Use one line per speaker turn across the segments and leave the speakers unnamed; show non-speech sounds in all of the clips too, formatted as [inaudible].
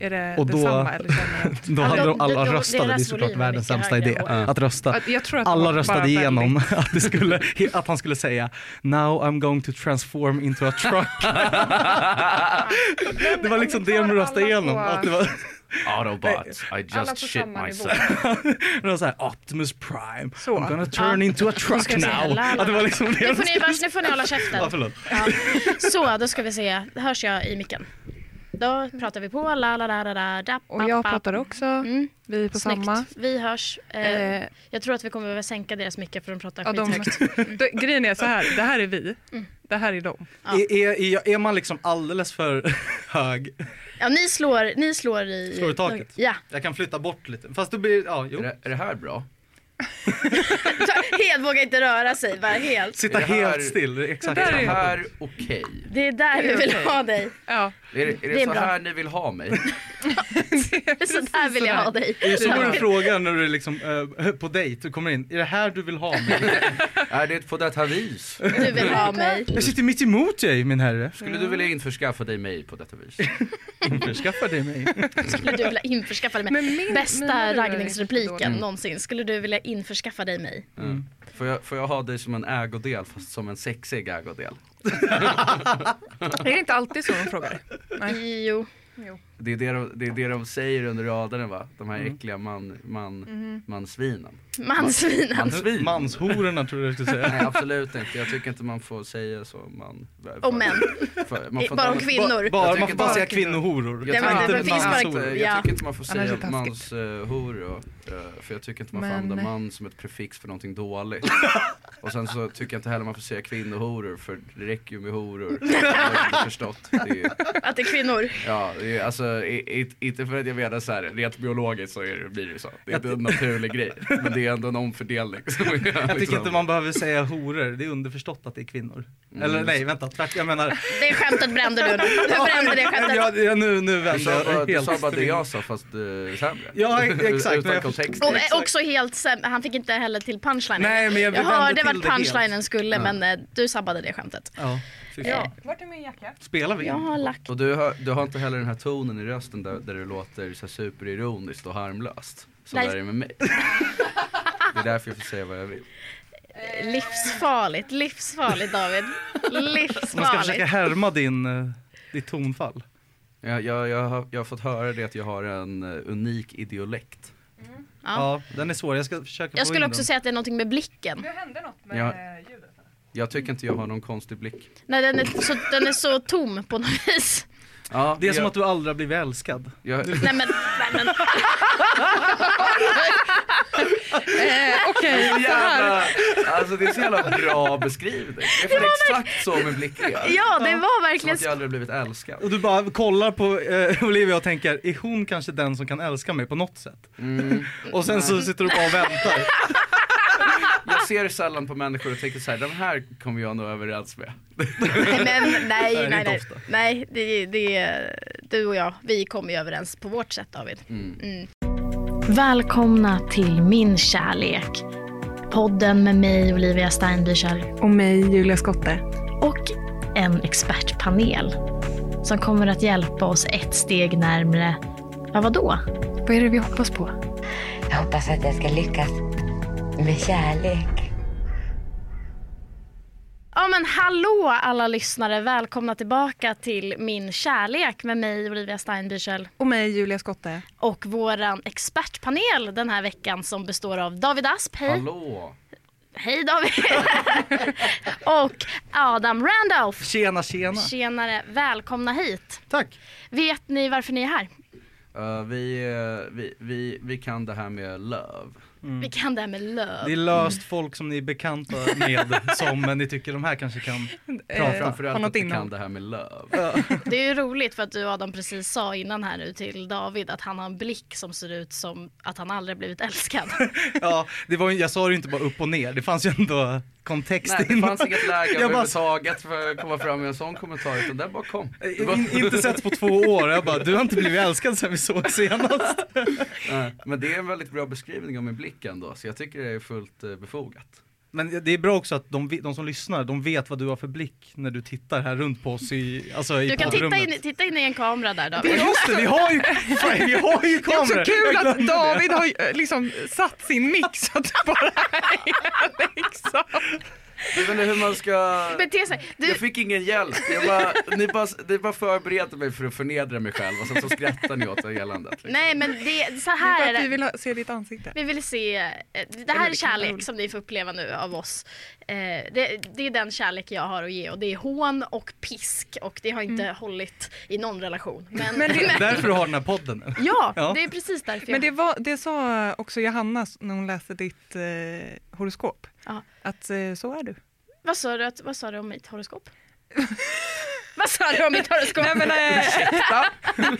Är det
Och då-
detsamma eller känner jag?
Då hade
Ja,
de, alla
då- då-
röstade, det är
deras
såklart
volym är
världens
mycket
sämsta
högre
idé
och-
att rösta.
att- jag tror att de
Alla
bara
röstade
väldigt-
igenom att, det skulle, att han skulle säga “Now I'm going to transform into a truck”.
Men
[laughs] Det var
om
liksom
vi
det de
tar
röstade
alla
igenom.
på-
Att det var, [laughs]
Autobots, I
alla på
just shit
samma nivå.
myself.
det var så här, “Optimus Prime,
Så.
I'm gonna turn
Ja.
into a truck
ska jag säga,
now”.
la, la,
Att det var liksom det
Nu
de
får ni,
skulle
vars, nu får ni hålla
Ja,
käften.
förlåt.
Ja. Så, då ska vi se. Hörs jag i micken? Då pratar vi på. La, la, la, la, la, da,
Och jag
pa, pa.
pratar också.
Mm,
Vi är på
snyggt.
samma.
Vi hörs. Eh,
Eh,
jag tror att vi kommer behöva sänka deras mycket för de pratar
ja, de,
skithögt.
[laughs] Det- grejen är så här, det här är vi.
Mm.
Det här är de.
Ja.
Är, är, är- är man liksom alldeles för [laughs] hög?
Ja, ni slår, ni slår i...
Slår i taket?
Ja,
Jag kan flytta bort lite. Fast då blir ja,
Är
jo.
det, är det här bra?
Ta- helt vågar inte röra sig, bara helt.
Sitta
Är det här-
helt still. det är Exakt.
Det där
Är
samma.
det här okej?
Det är där
Det
vi
är
vill
okej.
ha dig. [laughs]
Ja.
Är det, är det,
Det är
så
bra.
här ni vill ha mig?
Det är så där vill
[laughs]
jag ha dig.
Det är så en fråga när du är liksom, eh, på dejt, du kommer in. Är det här du vill ha mig?
är det på detta vis?
Du vill ha mig.
Jag sitter mitt emot dig min herre.
Skulle du vilja införskaffa dig mig på detta vis?
Införskaffa dig mig.
Skulle du vilja införskaffa dig mig?
Men min- mina
Bästa
lurar är
raggningsrepliken
jättedåliga.
någonsin. Skulle du vilja införskaffa dig mig?
Mm. Får, jag, får jag ha dig som en ägodel fast som en sexig ägodel?
Är det inte alltid så de [laughs] frågar? Nej.
Jo.
Det är det de, det är det de säger under raderna va? De här äckliga man, man,
Mhm.
mansvinen.
Mansvinen.
Mansvin?
Manshororna tror jag du skulle säga.
Nej absolut inte, jag tycker inte man får säga så om man...
Om män.
För,
Eh,
får
bara om
inte-
kvinnor.
Bara,
Jag
man
tycker
får bara
bara-
säga kvinnohoror.
Nej,
Jag, tycker
men
inte
det finns
manshoror.
bara-
jag
ja.
tycker inte man får
Annars är
säga
det taskigt.
manshora, eh, för jag tycker inte man får
Men-
använda man som ett prefix för
[laughs]
någonting dåligt. Och sen så tycker jag inte heller man får säga kvinnohoror, för det räcker ju
[laughs]
med horor. Det har jag förstått. Det är,
Att det är kvinnor.
ja, det är, alltså, i, i, inte för att jag menar så här, rent biologiskt så är det, blir det ju så. Det är inte en naturlig grej, men det är ändå en omfördelning. [laughs] som är
Jag tycker
liksom-
inte man behöver säga horor, det är underförstått att det är kvinnor.
Mm.
Eller nej, vänta, tvärt, jag
[laughs]
menar.
Det skämtet brände du. Du brände det skämtet.
Jag, jag, nu nu
Du
vänder
sa bara,
jag
du sa bara det
helt.
jag sa fast eh, sämre.
Ja, exakt, men
Utan
jag-
kontext.
Och eh, också helt säm- han fick inte heller till punchlinen.
Nej, men jag
jag
vände
hörde
till
vart
det helt.
punchlinen skulle men eh, du sabbade det skämtet.
Ja, fy fan.
Ja.
Vart är min jacka?
Spelar vi?
Jag har lagt...
Och du har, du har inte heller den här tonen i rösten där, där det låter så här superironiskt och harmlöst. Som
Nej.
det är med mig. Det är därför jag får säga vad jag vill.
Livsfarligt, livsfarligt David.
Man ska försöka
Livsfarligt.
härma din, eh, ditt tonfall.
Jag, jag, jag, har, jag har fått höra det att jag har en eh, unik idiolekt.
Ja.
Ja, den är svår. Jag ska försöka få
Jag skulle
in
också
den.
säga att det är någonting med blicken.
Det hände något
med, Ja.
ljudet.
Jag tycker inte jag har någon konstig blick.
Nej, den, är så, den är så tom på något vis.
Ja,
Det är
jag,
som att du aldrig har blivit älskad.
jag,
Nej men, nej, men
Eh, Okej,
[laughs]
så här.
[laughs] Jävla, alltså det är så jävla bra beskrivning. Det är fan exakt så min blick är.
ja det var
Som
verkligen
att jag aldrig har blivit älskad.
Och du bara kollar på eh, [laughs] Olivia och tänker, är hon kanske den som kan älska mig på något sätt?
Mm.
Och sen så sitter du bara och väntar.
Jag ser sällan på människor och tänker så här, den här kommer jag nog överens med.
Nej,
[laughs]
men,
Det
nej,
är
nej,
inte
nej.
ofta.
nej det, det, du och jag, vi kommer ju överens på vårt sätt David.
Mm.
Mm. Välkomna till Min kärlek. Podden med mig Olivia Steinbüchel
Och mig, Julia Skotte.
och en expertpanel som kommer att hjälpa oss ett steg närmre, ja vadå?
Vad är det vi hoppas på?
Jag hoppas att jag ska lyckas med kärlek.
Ja men hallå alla lyssnare, välkomna tillbaka till Min kärlek med mig Olivia Steinbüchel
Och mig, Julia Skotte.
och våran expertpanel den här veckan som består av David Asp, hej!
Hallå!
Hej David! och Adam Randolph.
Tjena, tjena.
Tjenare, välkomna hit.
Tack.
Vet ni varför ni är här?
Eh, vi, eh, vi, vi, vi kan det här med love.
Vi kan det här med
Det
löv.
är löst folk som ni är bekanta med som ni tycker de här kanske kan.
Eh, har
Framförallt
något
att vi kan
innehåll.
det här med love. [laughs]
Det är ju roligt för att du Adam precis sa innan här nu till David att han har en blick som ser ut som att han aldrig blivit älskad.
Ja, det var, ju- jag sa det ju inte bara upp och ner, det fanns ju ändå kontext
Nej, det
innan.
fanns inget läge
Jag bara,
överhuvudtaget för att komma fram med en sån kommentar utan den bara kom. Det var-
Eh, in,
[laughs]
inte sett på två år, jag bara, du har inte blivit älskad sen vi såg senast.
Eh, Men det är en väldigt bra beskrivning av min blick ändå så jag tycker det är fullt eh, befogat.
Men det är bra också att de, ve- de som lyssnar, de vet vad du har för blick när du tittar här runt på oss i, alltså i
Du kan titta
poddrummet.
in, titta in i en kamera där
Ja,
David.
just det, vi har ju, fan, vi har
Det
ju
är
kameror!
också kul
Jag glömde
att
det.
David har eh, liksom satt sin mix så att det bara är liksom.
Jag vet inte hur man ska...
Bete sig. Du,
Jag fick ingen hjälp. Jag bara, ni bara, ni bara förberedde mig för att förnedra mig själv och sen så skrattar ni åt eländet. Liksom.
nej men det,
Det
så
är
[laughs] här
för
är
att vi
det.
vill ha, se ditt ansikte.
Vi vill se, eh, det
men det
här är
kan vara
kärlek
roligt.
som ni får uppleva nu av oss. Eh, Det, det är den kärlek jag har att ge och det är hån och pisk och det har inte hållit i någon relation. Men,
Men det-
Därför du har den här podden.
[laughs] ja,
Ja.
det är precis därför
Men
jag...
det, var, det sa också Johanna när hon läste ditt eh, horoskop,
Ja.
att eh, så är du.
Vad, sa du att, vad sa du om mitt horoskop? vad sa du om mitt horoskop?
Nej, men, eh,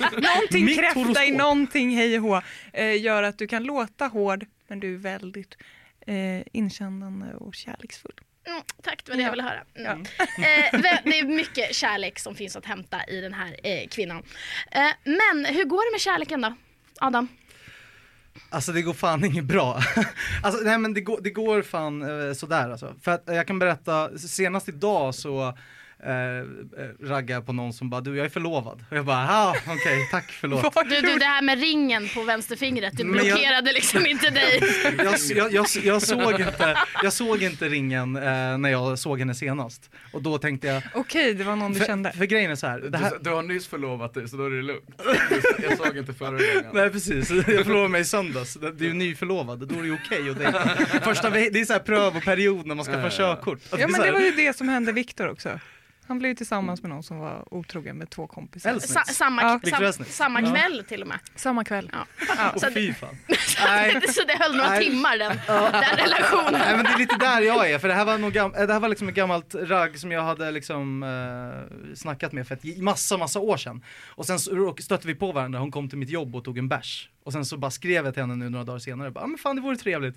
[laughs] någonting
Mitt
kräfta i
horoskop.
någonting hej och hå eh, gör att du kan låta hård men du är väldigt eh, inkännande och kärleksfull.
[laughs] Mm, tack, det var det
Ja.
jag ville höra. Mm. [laughs] Eh, vä- det är mycket kärlek som finns att hämta i den här eh, kvinnan. Eh, men hur går det med kärleken då? Adam?
Alltså det går fan inget bra. Alltså nej men det går, det går fan eh, sådär alltså. För att eh, jag kan berätta, senast idag så eh, eh, raggade jag på någon som bara du jag är förlovad. Och jag bara ah okej tack förlåt.
Du, du, det här med ringen på vänsterfingret, du
Men jag-
blockerade liksom
[laughs]
inte dig.
Jag, jag, jag, jag, såg inte, jag såg inte ringen eh, när jag såg henne senast. Och då tänkte jag,
[laughs] Okej, det var någon du
för,
kände.
för grejen är så här. Det här
Du, du har nyss förlovat dig så då är det [laughs] lugnt. Jag såg inte förra gången.
Nej precis, [laughs] jag förlovade mig i söndags. Det det är ju nyförlovad, då är det ju okej att dejta. Första ve- Det är så här prövoperiod när man ska
Ja,
få
ja, ja.
körkort. Att
Ja,
är
men
så
det
här-
var ju det som hände Viktor också. Han blev ju tillsammans med någon som var otrogen med två kompisar.
Elsa.
Sa, samma,
Ja.
Vilket
sam,
resnick.
samma
Ja.
kväll till och med.
Samma kväll.
Ja.
Ja.
Så
Åh
att-
fy fan. Nej.
[laughs] så det höll några
Nej.
timmar den, den relationen.
Nej men det är lite där jag är, för det här var, nog gam- eh, det här var liksom ett gammalt ragg som jag hade liksom eh, snackat med för ett massa, massa år sedan. Och sen så råk- stötte vi på varandra, hon kom till mitt jobb och tog en bärs. Och sen så bara skrev jag till henne nu några dagar senare, bara, ah, men fan det vore trevligt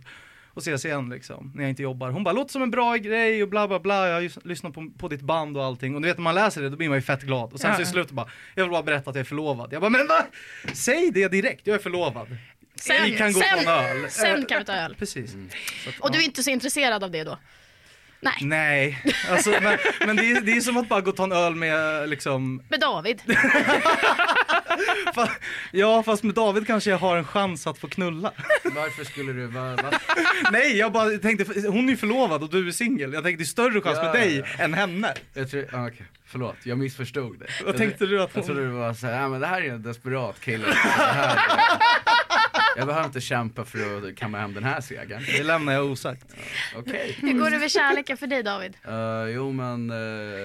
att ses igen liksom, när jag inte jobbar. Hon bara, låter som en bra grej och bla bla bla, jag har ju s- lyssnat på, på ditt band och allting. Och du vet när man läser det, då blir man ju fett glad. Och sen så i
Ja.
slutet bara, jag vill bara berätta att jag är förlovad. Jag bara, men va? Säg det direkt, jag är förlovad.
Sen-
Ni kan gå
sen-
på en öl.
sen
Eh,
kan vi ta öl.
Precis. Så att,
Och du
ja.
är inte så intresserad av det då? Nej.
Nej, alltså, men, men det, är, det är som att bara gå och ta en öl med liksom, [laughs]
Med David?
fa, ja fast med David kanske jag har en chans att få knulla.
Varför skulle du, va, va?
Nej jag bara tänkte, för hon är ju förlovad och du är singel, jag tänkte det är större chans
Ja,
med
ja,
dig
ja.
än henne.
Jag tror, ah, okej, förlåt, jag missförstod det.
Vad tänkte du att
Jag
hon...
trodde du var såhär, ah, men det här är en desperat kille. Det här är- [laughs] Jag behöver inte kämpa för att kamma hem den här segern.
Det lämnar jag osagt.
Okej.
[laughs]
Hur går det med kärleken för dig David?
Eh, jo men,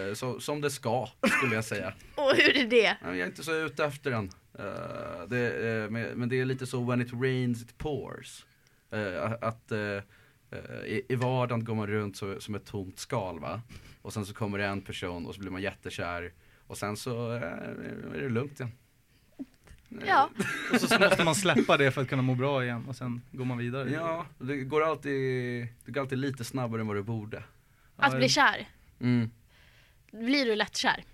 eh, så, som det ska skulle jag säga.
Och hur är det?
Nej, Jag är inte så ute efter den. Eh, det, eh, men, men det är lite så when it rains it pours. Eh, att eh, eh, i, i vardagen går man runt så, som ett tomt skal va. Och sen så kommer det en person och så blir man jättekär. Och sen så eh, är det lugnt igen.
Ja.
Och så, så måste man släppa det för att kunna må bra igen och sen går man vidare.
Ja, det går alltid, det går alltid lite snabbare än vad det borde.
Att bli kär?
Mm.
Blir du lätt kär?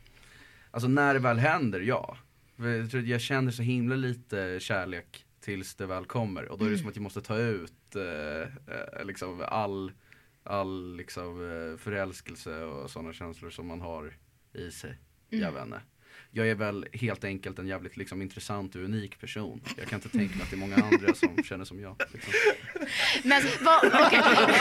Alltså när det väl händer, ja. För Jag, tror att jag känner så himla lite kärlek tills det väl kommer. Och då är det som att jag måste ta ut eh, eh, liksom all, all liksom, eh, förälskelse och sådana känslor som man har i sig. Jag vet inte. Jag är väl helt enkelt en jävligt liksom, intressant och unik person. Jag kan inte tänka mig att det är många andra som känner som jag. Liksom.
Men
[laughs]
vad, okej. [laughs]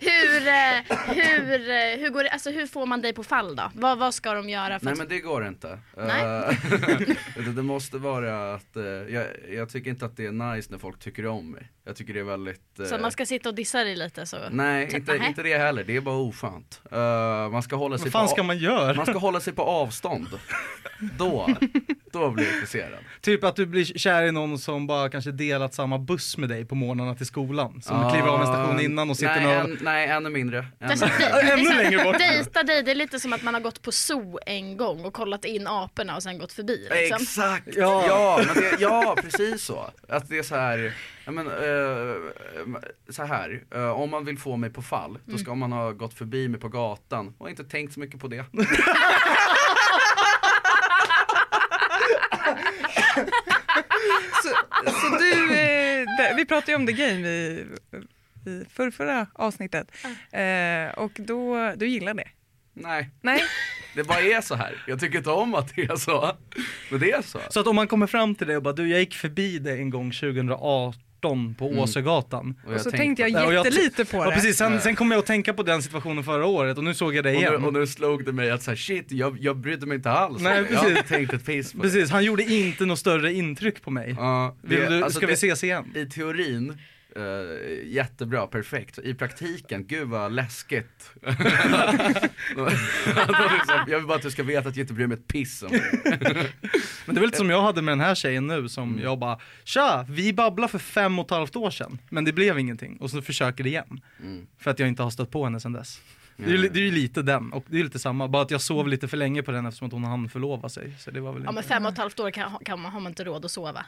hur, eh, hur, eh, hur, går det, alltså, hur får man dig på fall då? Vad, vad ska de göra för
Nej
att...
men det går inte.
Nej.
Eh, [laughs] det, det måste vara att, eh, jag, jag tycker inte att det är nice när folk tycker om mig. Jag tycker det är väldigt
Så
eh,
att man ska typ, sitta och dissa dig lite så?
Nej, inte,
Nej.
inte det heller. Det är bara oskönt. Eh, man, ska hålla sig
Vad
på,
fan ska man göra?
man ska hålla sig
[laughs]
på avstånd. Då, då blir jag intresserad.
Typ att du blir kär i någon som bara kanske delat samma buss med dig på morgnarna till skolan. Som
Ah,
kliver av en station innan och sitter
nej,
några...
än- nej, ännu mindre. Ännu
Alltså,
mindre.
det- det är
Ännu
så här,
längre bort.
Dejta dig, det är lite som att man har gått på zoo en gång och kollat in aporna och sen gått förbi. Liksom.
Exakt!
Ja.
Ja, men det, ja precis så. Att det är så här, ja, men, eh, så här eh, om man vill få mig på fall,
Mm.
då ska man ha gått förbi mig på gatan och inte tänkt så mycket på det.
Så, så du, eh, där- vi pratade ju om The Game i i förrförra avsnittet. Eh, och då, du gillar det?
Nej,
Nej?
det bara är så här. Jag tycker inte om att det är så. Men det är så.
Så att om man kommer fram till dig och bara du jag gick förbi dig en gång 2018 på
Mm.
Åsögatan.
Och så tänkte
på-
jag
på- Ja, jag-
jättelite på
Ja
det.
precis, sen, sen kom jag att tänka på den situationen förra året och nu såg jag det
Och
igen.
nu, och nu slog det mig att så här, shit, jag, jag brydde mig inte alls. om
Nej,
det. Jag har
precis.
inte tänkt ett piss på det.
Precis, han gjorde inte något större intryck på mig.
Ja, det-
Vill du,
alltså
ska vi
det-
ses igen?
I teorin, eh, jättebra, perfekt. I praktiken, gud vad läskigt. [laughs] Alltså, liksom, jag vill bara att du ska veta att jag inte bryr mig ett piss om det.
Men det var lite som jag hade med den här tjejen nu som
Mm.
jag bara Tja, vi babblade för fem och ett halvt år sedan men det blev ingenting och så försöker det igen.
Mm.
För att jag inte har stött på henne sedan dess. Det är, ju li- det är ju lite den och det är ju lite samma, bara att jag sov lite för länge på den eftersom att hon hann förlova sig. Så det var väl
Ja men
inte...
fem och ett halvt år kan, kan man, har man inte råd att sova.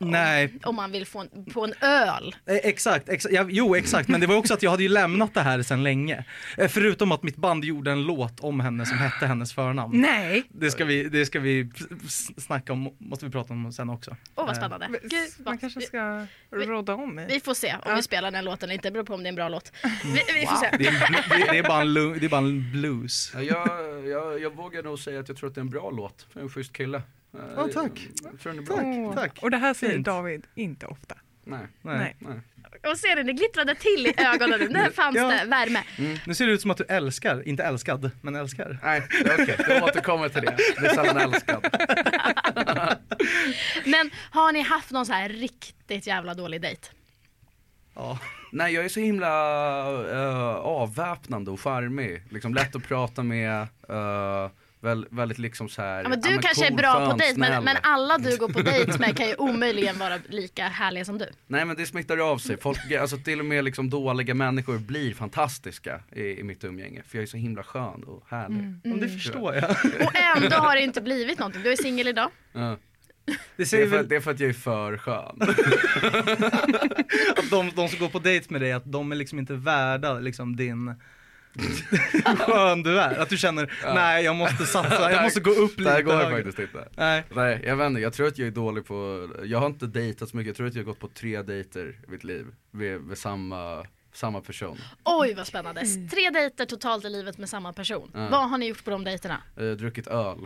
Om-
Nej,
Om man vill få en, på en öl.
Eh, Exakt, exakt ja, jo exakt, men det var också att jag hade ju lämnat det här sedan länge. Eh, Förutom att mitt band gjorde en låt om henne som hette hennes förnamn.
Nej.
Det ska vi, det ska vi s- s- snacka om, måste vi prata om sen också.
Åh vad
Eh,
spännande. Gud, vad-
Man kanske ska rodda om i.
Vi får se om
Ja.
vi spelar den låten eller inte, det beror på om det är en bra låt. Vi, vi får se.
Det är, en blu- det, det, är bara en, lu- det är bara en blues.
Ja, Jag, jag, jag vågar nog säga att jag tror att det är en bra låt. För en schysst kille. Eh,
Ja, tack.
Jag tror den är bra.
Åh,
tack.
Och det här säger
Fint.
David inte ofta.
Nej,
Nej.
Nej.
nej.
Och ser ni, det glittrade till i ögonen nu. Där fanns
Ja.
det värme.
Nu ser det ut som att du älskar, inte älskad, men älskar.
Nej, okej. Jag återkommer till det. Det är sällan älskad.
Men har ni haft någon så här riktigt jävla dålig dejt?
Ja.
Nej, jag är så himla eh, avväpnande och charmig. Liksom lätt att prata med. eh, väl, väldigt liksom så här.
Ja, men du
ja,
kanske är
cool,
bra på
skön,
dejt men,
snäll.
men alla du går på dejt med kan ju omöjligen vara lika härliga som du.
Nej men det smittar av sig.
[laughs]
Folk, alltså till och med liksom dåliga människor blir fantastiska i, i mitt umgänge. För jag är så himla skön och härlig.
Om det förstår jag.
Och ändå har det inte blivit någonting. Du är singel idag.
Ja.
Det
Det,
säger
är för,
väl
det är för att jag är
[laughs]
för skön.
att de, de som går på dejt med dig, att de är liksom inte värda liksom din [laughs] hur skön du är. Att du känner, nej jag måste
[laughs]
satsa, jag måste gå upp
Det här
lite
går jag
högre."
faktiskt inte.
Nej.
Nej jag vet inte, jag tror att jag är dålig på, jag har inte dejtat så mycket, jag tror att jag har gått på tre dejter i mitt liv. Med, med samma, samma person.
Oj vad spännande. Tre dejter totalt i livet med samma person.
Ja.
Vad har ni gjort på de dejterna?
Eh, druckit öl,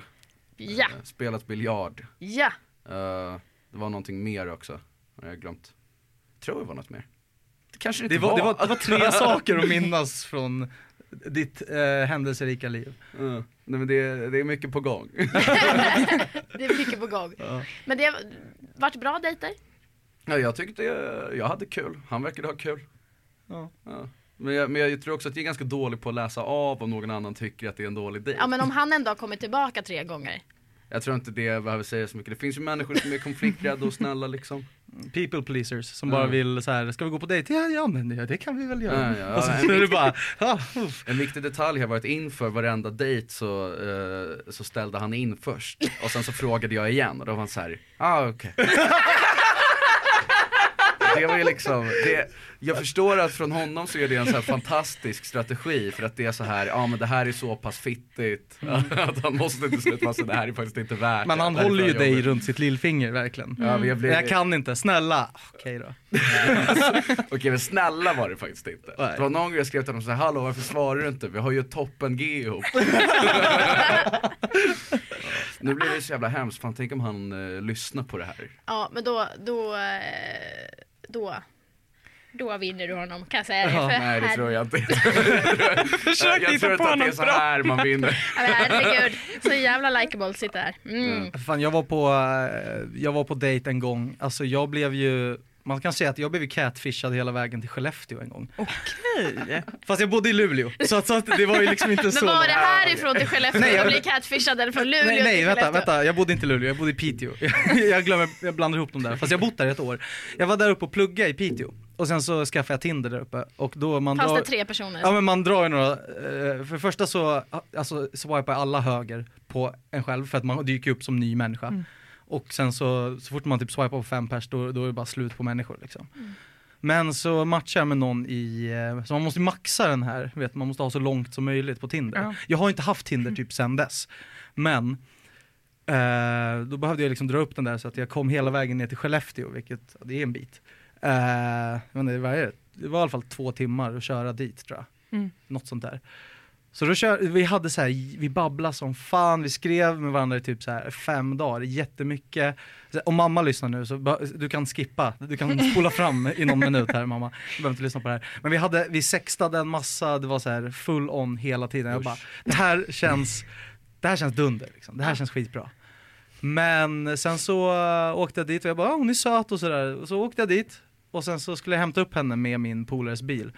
Ja,
eh, spelat biljard. [laughs]
ja.
Eh, det var någonting mer också, jag har glömt. Tror det var något mer. Det kanske inte
Det var, det, var, det var tre saker [laughs] att minnas från ditt eh, händelserika liv.
Eh, nej men det, det är mycket på gång.
Det är mycket på gång.
Ja.
Men det har varit bra dejter.
[laughs] Ja, jag tyckte eh, jag hade kul, han verkade ha kul.
Ja.
Ja. Men, jag, men jag tror också att jag är ganska dålig på att läsa av om någon annan tycker att det är en dålig dejt.
Ja men om han ändå har kommit tillbaka tre gånger.
Jag tror inte det behöver säga så mycket. Det finns ju människor som är konflikträdda och snälla liksom.
People pleasers som
Ja.
bara vill så här, ska vi gå på dejt? Ja, ja men Mm. ja, det kan vi väl göra.
Ja, ja,
och så,
ja.
så är det bara, ja, uff.
En viktig detalj har varit inför varenda dejt så, eh, så ställde han in först. Och sen så frågade jag igen och då var han så här, ah okej. Det var ju liksom, det, jag förstår att från honom så är det en så här fantastisk strategi för att det är så här, ja ah, men det här är så pass fittigt att han måste till slut vara så det här är faktiskt inte värt
men
det.
han
Det här är
håller ju
för
dig
jobbigt."
runt sitt lillfinger verkligen.
Ja, men jag blev,
Jag kan inte, snälla. Okej då.
Okej men snälla var det faktiskt inte.
Nej.
Det var någon gång jag skrev till honom såhär, hallå varför svarar du inte? Vi har ju ett
[laughs]
toppen-G ihop. nu blir det så jävla hemskt, fan tänk om han eh, lyssnar på det här.
Ja men då, då, eh, då. Då vinner du honom kan jag säga dig.
Ja,
För
Nej det
herre-
tror jag inte.
Försök
jag
hitta
tror
på
inte att det är
något
så
bra.
här man vinner.
Ja, men herregud, så jävla likeable sitter här. Mm.
Fan, jag var på, eh, jag var på dejt en gång, alltså jag blev ju, man kan säga att jag blev ju catfishad hela vägen till Skellefteå en gång.
Okej.
Fast jag bodde i Luleå, så, att, så att det var ju liksom inte så
Men var det
långt.
härifrån till Skellefteå?
Nej, jag-
jag... blir catfishad eller från Luleå
Nej, nej
till
vänta,
Skellefteå.
vänta, jag bodde inte i Luleå, jag bodde i Piteå. [laughs] Jag, glömmer, jag blandar ihop dem där, fast jag har bott där ett år. Jag var där uppe och pluggade i Piteå, och sen så skaffade jag Tinder där uppe. Och då man
Fanns
drar...
det tre personer?
Ja men man drar ju några, eh, för det första så alltså, swipar alla höger på en själv för att man dyker upp som ny människa. Och sen så, så fort man typ swipar på fem pers då, då är det bara slut på människor liksom. Men så matchar jag med någon i, eh, så man måste ju maxa den här, vet, man måste ha så långt som möjligt på Tinder.
Ja.
Jag har inte haft Tinder typ sen dess. Men eh, då behövde jag liksom dra upp den där så att jag kom hela vägen ner till Skellefteå, vilket ja, det är en bit. Eh, jag vet inte, vad är det? det var i alla fall två timmar att köra dit tror jag.
Mm.
Något sånt där. Så då kör, vi hade så här, vi babblade som fan, vi skrev med varandra i typ så här fem dagar, jättemycket. Så- Om mamma lyssnar nu så, ba- du kan skippa, du kan spola fram i någon minut här mamma. Du behöver inte lyssna på det här. Men vi hade, vi sextade en massa, det var så här full on hela tiden. Jag bara, det här känns, det här känns dunder liksom. det här känns skitbra. Men sen så eh, åkte jag dit och jag bara, ah, hon är söt och sådär. Och så åkte jag dit och sen så skulle jag hämta upp henne med min polares bil.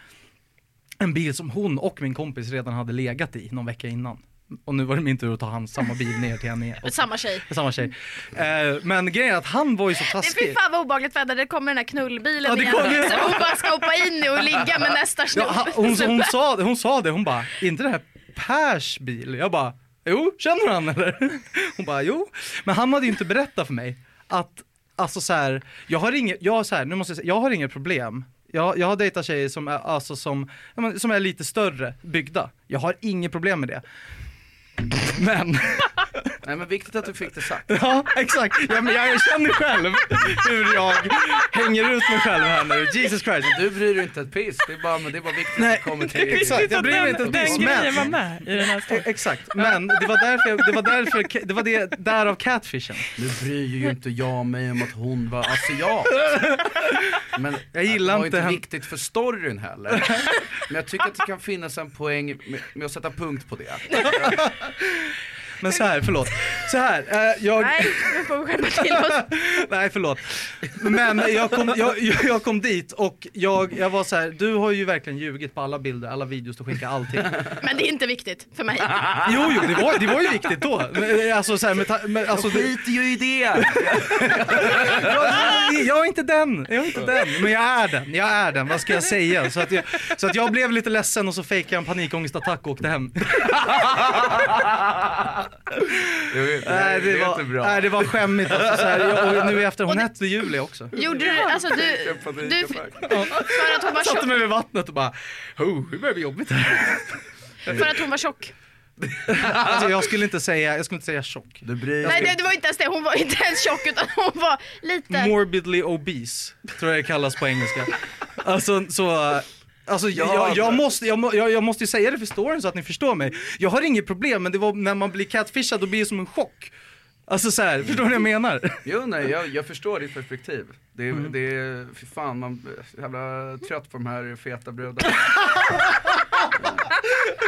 En bil som hon och min kompis redan hade legat i någon vecka innan. Och nu var det min tur att ta hand samma bil ner till henne igen. Och-
[laughs] Samma tjej.
Samma tjej. Eh, Men grejen är att han var ju så
Det
taskig.
fy fan vad obehagligt väder, det kommer den här knullbilen
Ja, det
igen.
kommer ju.
Så hon bara ska hoppa in i och ligga
[laughs]
med nästa
Ja,
snubbe. [laughs]
han- hon, hon, sa, hon sa det, hon bara, inte det här Pers bil? Jag bara, jo, känner du han eller? [laughs] Hon bara, jo. Men han hade ju inte berättat för mig att, alltså så här, jag har inget, jag, så här, nu måste jag, säga, jag har inget problem. Jag, jag har dejtat tjejer som är, alltså som, ja, men, som är lite större byggda. Jag har inget problem med det. Men, [laughs]
Nej men viktigt att du fick det sagt.
ja exakt, ja, men jag känner själv hur jag hänger ut mig själv här nu. Jesus Christ.
Alltså, Du bryr dig inte ett piss, det är bara, men det är bara viktigt att
Nej,
du kommer
[laughs]
till
exakt. Jag bryr mig inte
den,
ett
den
piss,
grejen
men
var med i den här
E-
storyn.
Exakt, men det var därför, jag, det var därför, det var det, därav catfishen.
Nu bryr ju inte jag mig om att hon var asiat. Men
[laughs] Jag gillar
det var
inte
ju inte
henne.
viktigt för storyn heller. Men jag tycker att det kan finnas en poäng med, med att sätta punkt på det.
Men så här, förlåt. Så här, eh, jag,
Nej, nu får vi skärpa till oss.
nej förlåt. Men jag kom, jag, jag jag kom dit och jag, jag var så här, du har ju verkligen ljugit på alla bilder, alla videos du skickar, allting.
Men det är inte viktigt
[laughs]
för mig.
Jo, jo, det var, det var ju viktigt då. Men, Alltså så här, med, ta- med, alltså,
Jag
det,
skiter ju i det!
jag, jag är inte den, jag är inte den. Men jag är den, jag är den, vad ska jag säga? Så att jag, så att jag blev lite ledsen och så fejkade jag en panikångestattack och åkte hem. Nej det, var, nej det var skämmigt. Alltså, så här, jag, och nu i efter, hon hette Julia också.
Gjorde du, alltså du, du, för att hon var
Satte
tjock.
mig vid vattnet och bara, oh, det börjar bli jobbigt här.
För att hon var tjock.
Alltså, jag skulle inte säga, jag skulle inte säga tjock.
Du bryr
Nej det, det var inte ens det, hon var inte ens tjock utan hon var liten.
Morbidly obese, tror jag det kallas på engelska. Alltså så, alltså jag, jag, jag, måste, jag, må- jag, jag måste ju säga det för storyn så att ni förstår mig. Jag har inget problem men det var när man blir catfishad då blir det som en chock. Alltså så här, förstår ni vad jag menar?
Jo nej, jag, jag förstår ditt perspektiv. Det, är-
Mm.
det är, fy fan man blir så jävla trött på de här feta brudarna.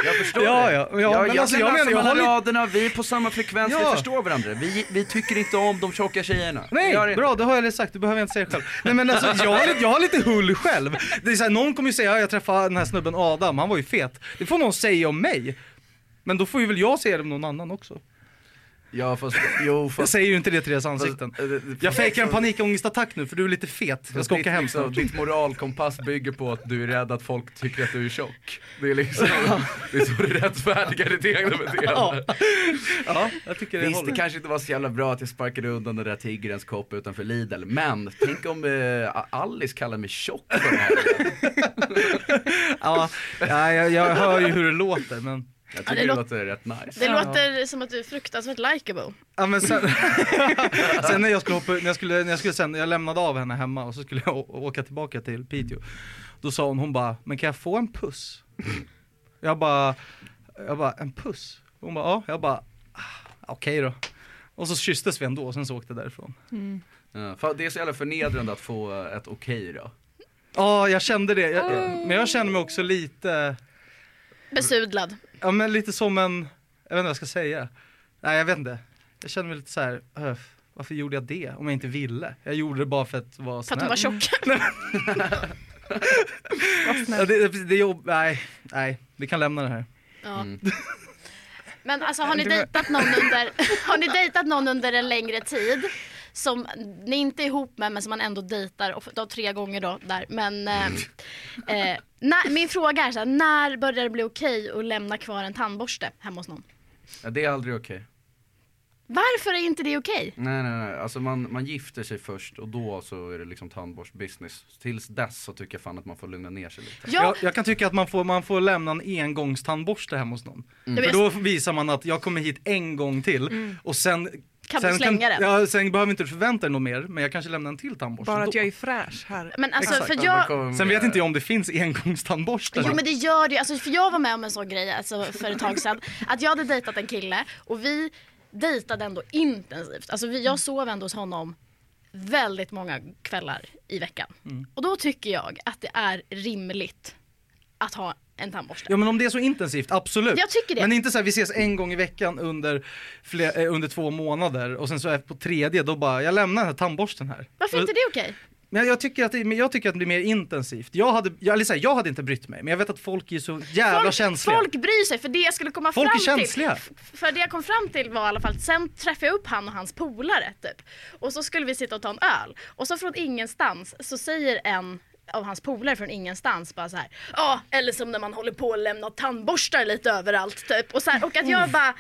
Jag förstår
Ja,
det.
ja, ja, men
jag, jag,
alltså,
kan
jag
läsa
menar, jag har
mellan
lite-
raderna, vi är på samma frekvens,
Ja.
vi förstår varandra. Vi, vi tycker inte om de tjocka tjejerna. Vi gör
Nej,
inte
bra, det har jag redan sagt, det behöver jag inte säga själv. Nej men alltså, jag har lite, jag har lite hull själv. Det är så här, någon kommer ju säga, "Ja, jag träffade den här snubben Adam, han var ju fet. Det får någon säga om mig. Men då får ju väl jag säga det om någon annan också.
Ja fast, jo
Jag
fast.
säger ju inte det till deras ansikten.
fast- eh, det- det-
Jag
fast-
fejkar en panikångestattack nu för du är lite fet. Jag ska
ditt,
åka hem
liksom,
snart.
Ditt moralkompass bygger på att du är rädd att folk tycker att du är tjock. Det
[laughs]
är liksom, det är så du rättfärdigar ditt egna beteende.
Ja. ja, jag tycker det
Visst, det
håller.
kanske inte var så jävla bra att jag sparkade undan den där tigerens kopp utanför Lidl, men tänk om eh, Alice kallar mig tjock på
[laughs]
den här.
Ja, ja, jag, jag hör ju hur det låter men...
Ja,
Jag tycker
det
det
lå-
låter rätt nice.
Det låter som att du är fruktansvärt likeable.
Ja, men sen, [laughs] sen när jag skulle hoppa, när jag skulle, när jag skulle sen, jag lämnade av henne hemma och så skulle jag å- åka tillbaka till Piteå. Då sa hon, hon bara, men kan jag få en puss? Jag bara, jag bara, en puss? Hon bara, ja, jag bara, "Ah, okej då. Och så kysstes vi ändå och sen så åkte jag därifrån.
Ja, fan, det är så jävla förnedrande att få ett okej då.
Ja, jag kände det, jag, men jag kände mig också lite,
Besudlad.
ja men lite som en, jag vet inte vad jag ska säga. Nej jag vet inte, jag kände mig lite så här, "Öh, varför gjorde jag det om jag inte ville? Jag gjorde det bara för att vara
För
snäll.
att hon var tjock.
Ja, det, det, det är jobb... Nej, nej, vi kan lämna det här.
Ja.
Mm.
[laughs] Men alltså har ni
Det var-
dejtat någon under, [laughs] har ni dejtat någon under en längre tid som ni inte är ihop med men som man ändå dejtar, och då tre gånger då där, men eh, eh, när, min fråga är så här, när börjar det bli okej att lämna kvar en tandborste hemma hos någon?
Ja, det är aldrig okej.
Varför är inte det okej?
Nej nej nej, alltså man, man gifter sig först och då så är det liksom tandborstbusiness. Tills dess så tycker jag fan att man får lugna ner sig lite.
Ja,
Jag, jag kan tycka att man får, man får lämna en engångstandborste hemma hos någon.
jag
För
vet-
då visar man att jag kommer hit en gång till och sen
Mm. kan du slänga den.
Ja, sen behöver inte du förvänta dig något mer, men jag kanske lämnar en till tandborste
Bara att
då.
jag är fräsch här.
Men alltså
Exakt.
för
Vad
jag,
kommer-
Sen vet inte jag om det finns engångstandborstar.
Jo men det gör det ju. alltså, för jag var med om en sån grej alltså, för ett tag sedan. Att jag hade dejtat en kille och vi dejtade ändå intensivt. Alltså, vi, jag sov ändå hos honom väldigt många kvällar i veckan. Och då tycker jag att det är rimligt att ha en tandborste.
Ja men om det är så intensivt, absolut.
Jag tycker det.
Men inte så här, vi ses en gång i veckan under, fler, eh, under två månader och sen så är på tredje då bara, jag lämnar den här tandborsten här.
Varför är inte det okej?
Men jag tycker att det, men jag tycker att det blir mer intensivt. Jag hade, jag, eller så här, jag hade inte brytt mig, men jag vet att folk är så jävla
Folk,
känsliga.
folk bryr sig för det jag skulle komma
Folk är
fram
känsliga.
till. f- För det jag kom fram till var i alla fall att sen träffade jag upp han och hans polare typ. Och så skulle vi sitta och ta en öl. Och så från ingenstans så säger en av hans polare från ingenstans bara så här. Ja, eller som när man håller på att lämna tandborstar lite överallt typ. Och, så här, och att
Mm.
jag bara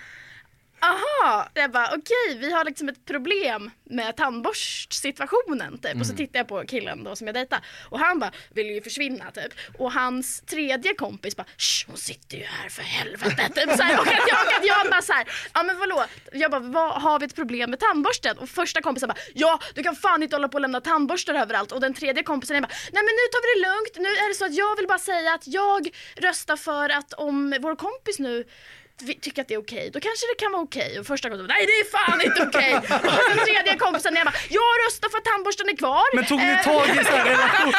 Aha! Jag bara okej, vi har liksom ett problem med tandborstsituationen typ. Och så tittar jag på killen då som jag dejtar och han bara vill ju försvinna typ. Och hans tredje kompis bara "Shh, hon sitter ju här för helvete [laughs] typ. Så här, och, att jag, och att jag bara så här, ja men vadå? Jag bara vad har vi ett problem med tandborsten? Och första kompisen bara ja du kan fan inte hålla på och lämna tandborstar överallt. Och den tredje kompisen är bara nej men nu tar vi det lugnt. Nu är det så att jag vill bara säga att jag röstar för att om vår kompis nu vi tycker att det är okej, då kanske det kan vara okej. Och första kompisen nej det är fan inte okej. Och sen tredje kompisen jag bara, jag röstar för att tandborsten är kvar.
Men tog ni
Eh,
tag i, så här relation,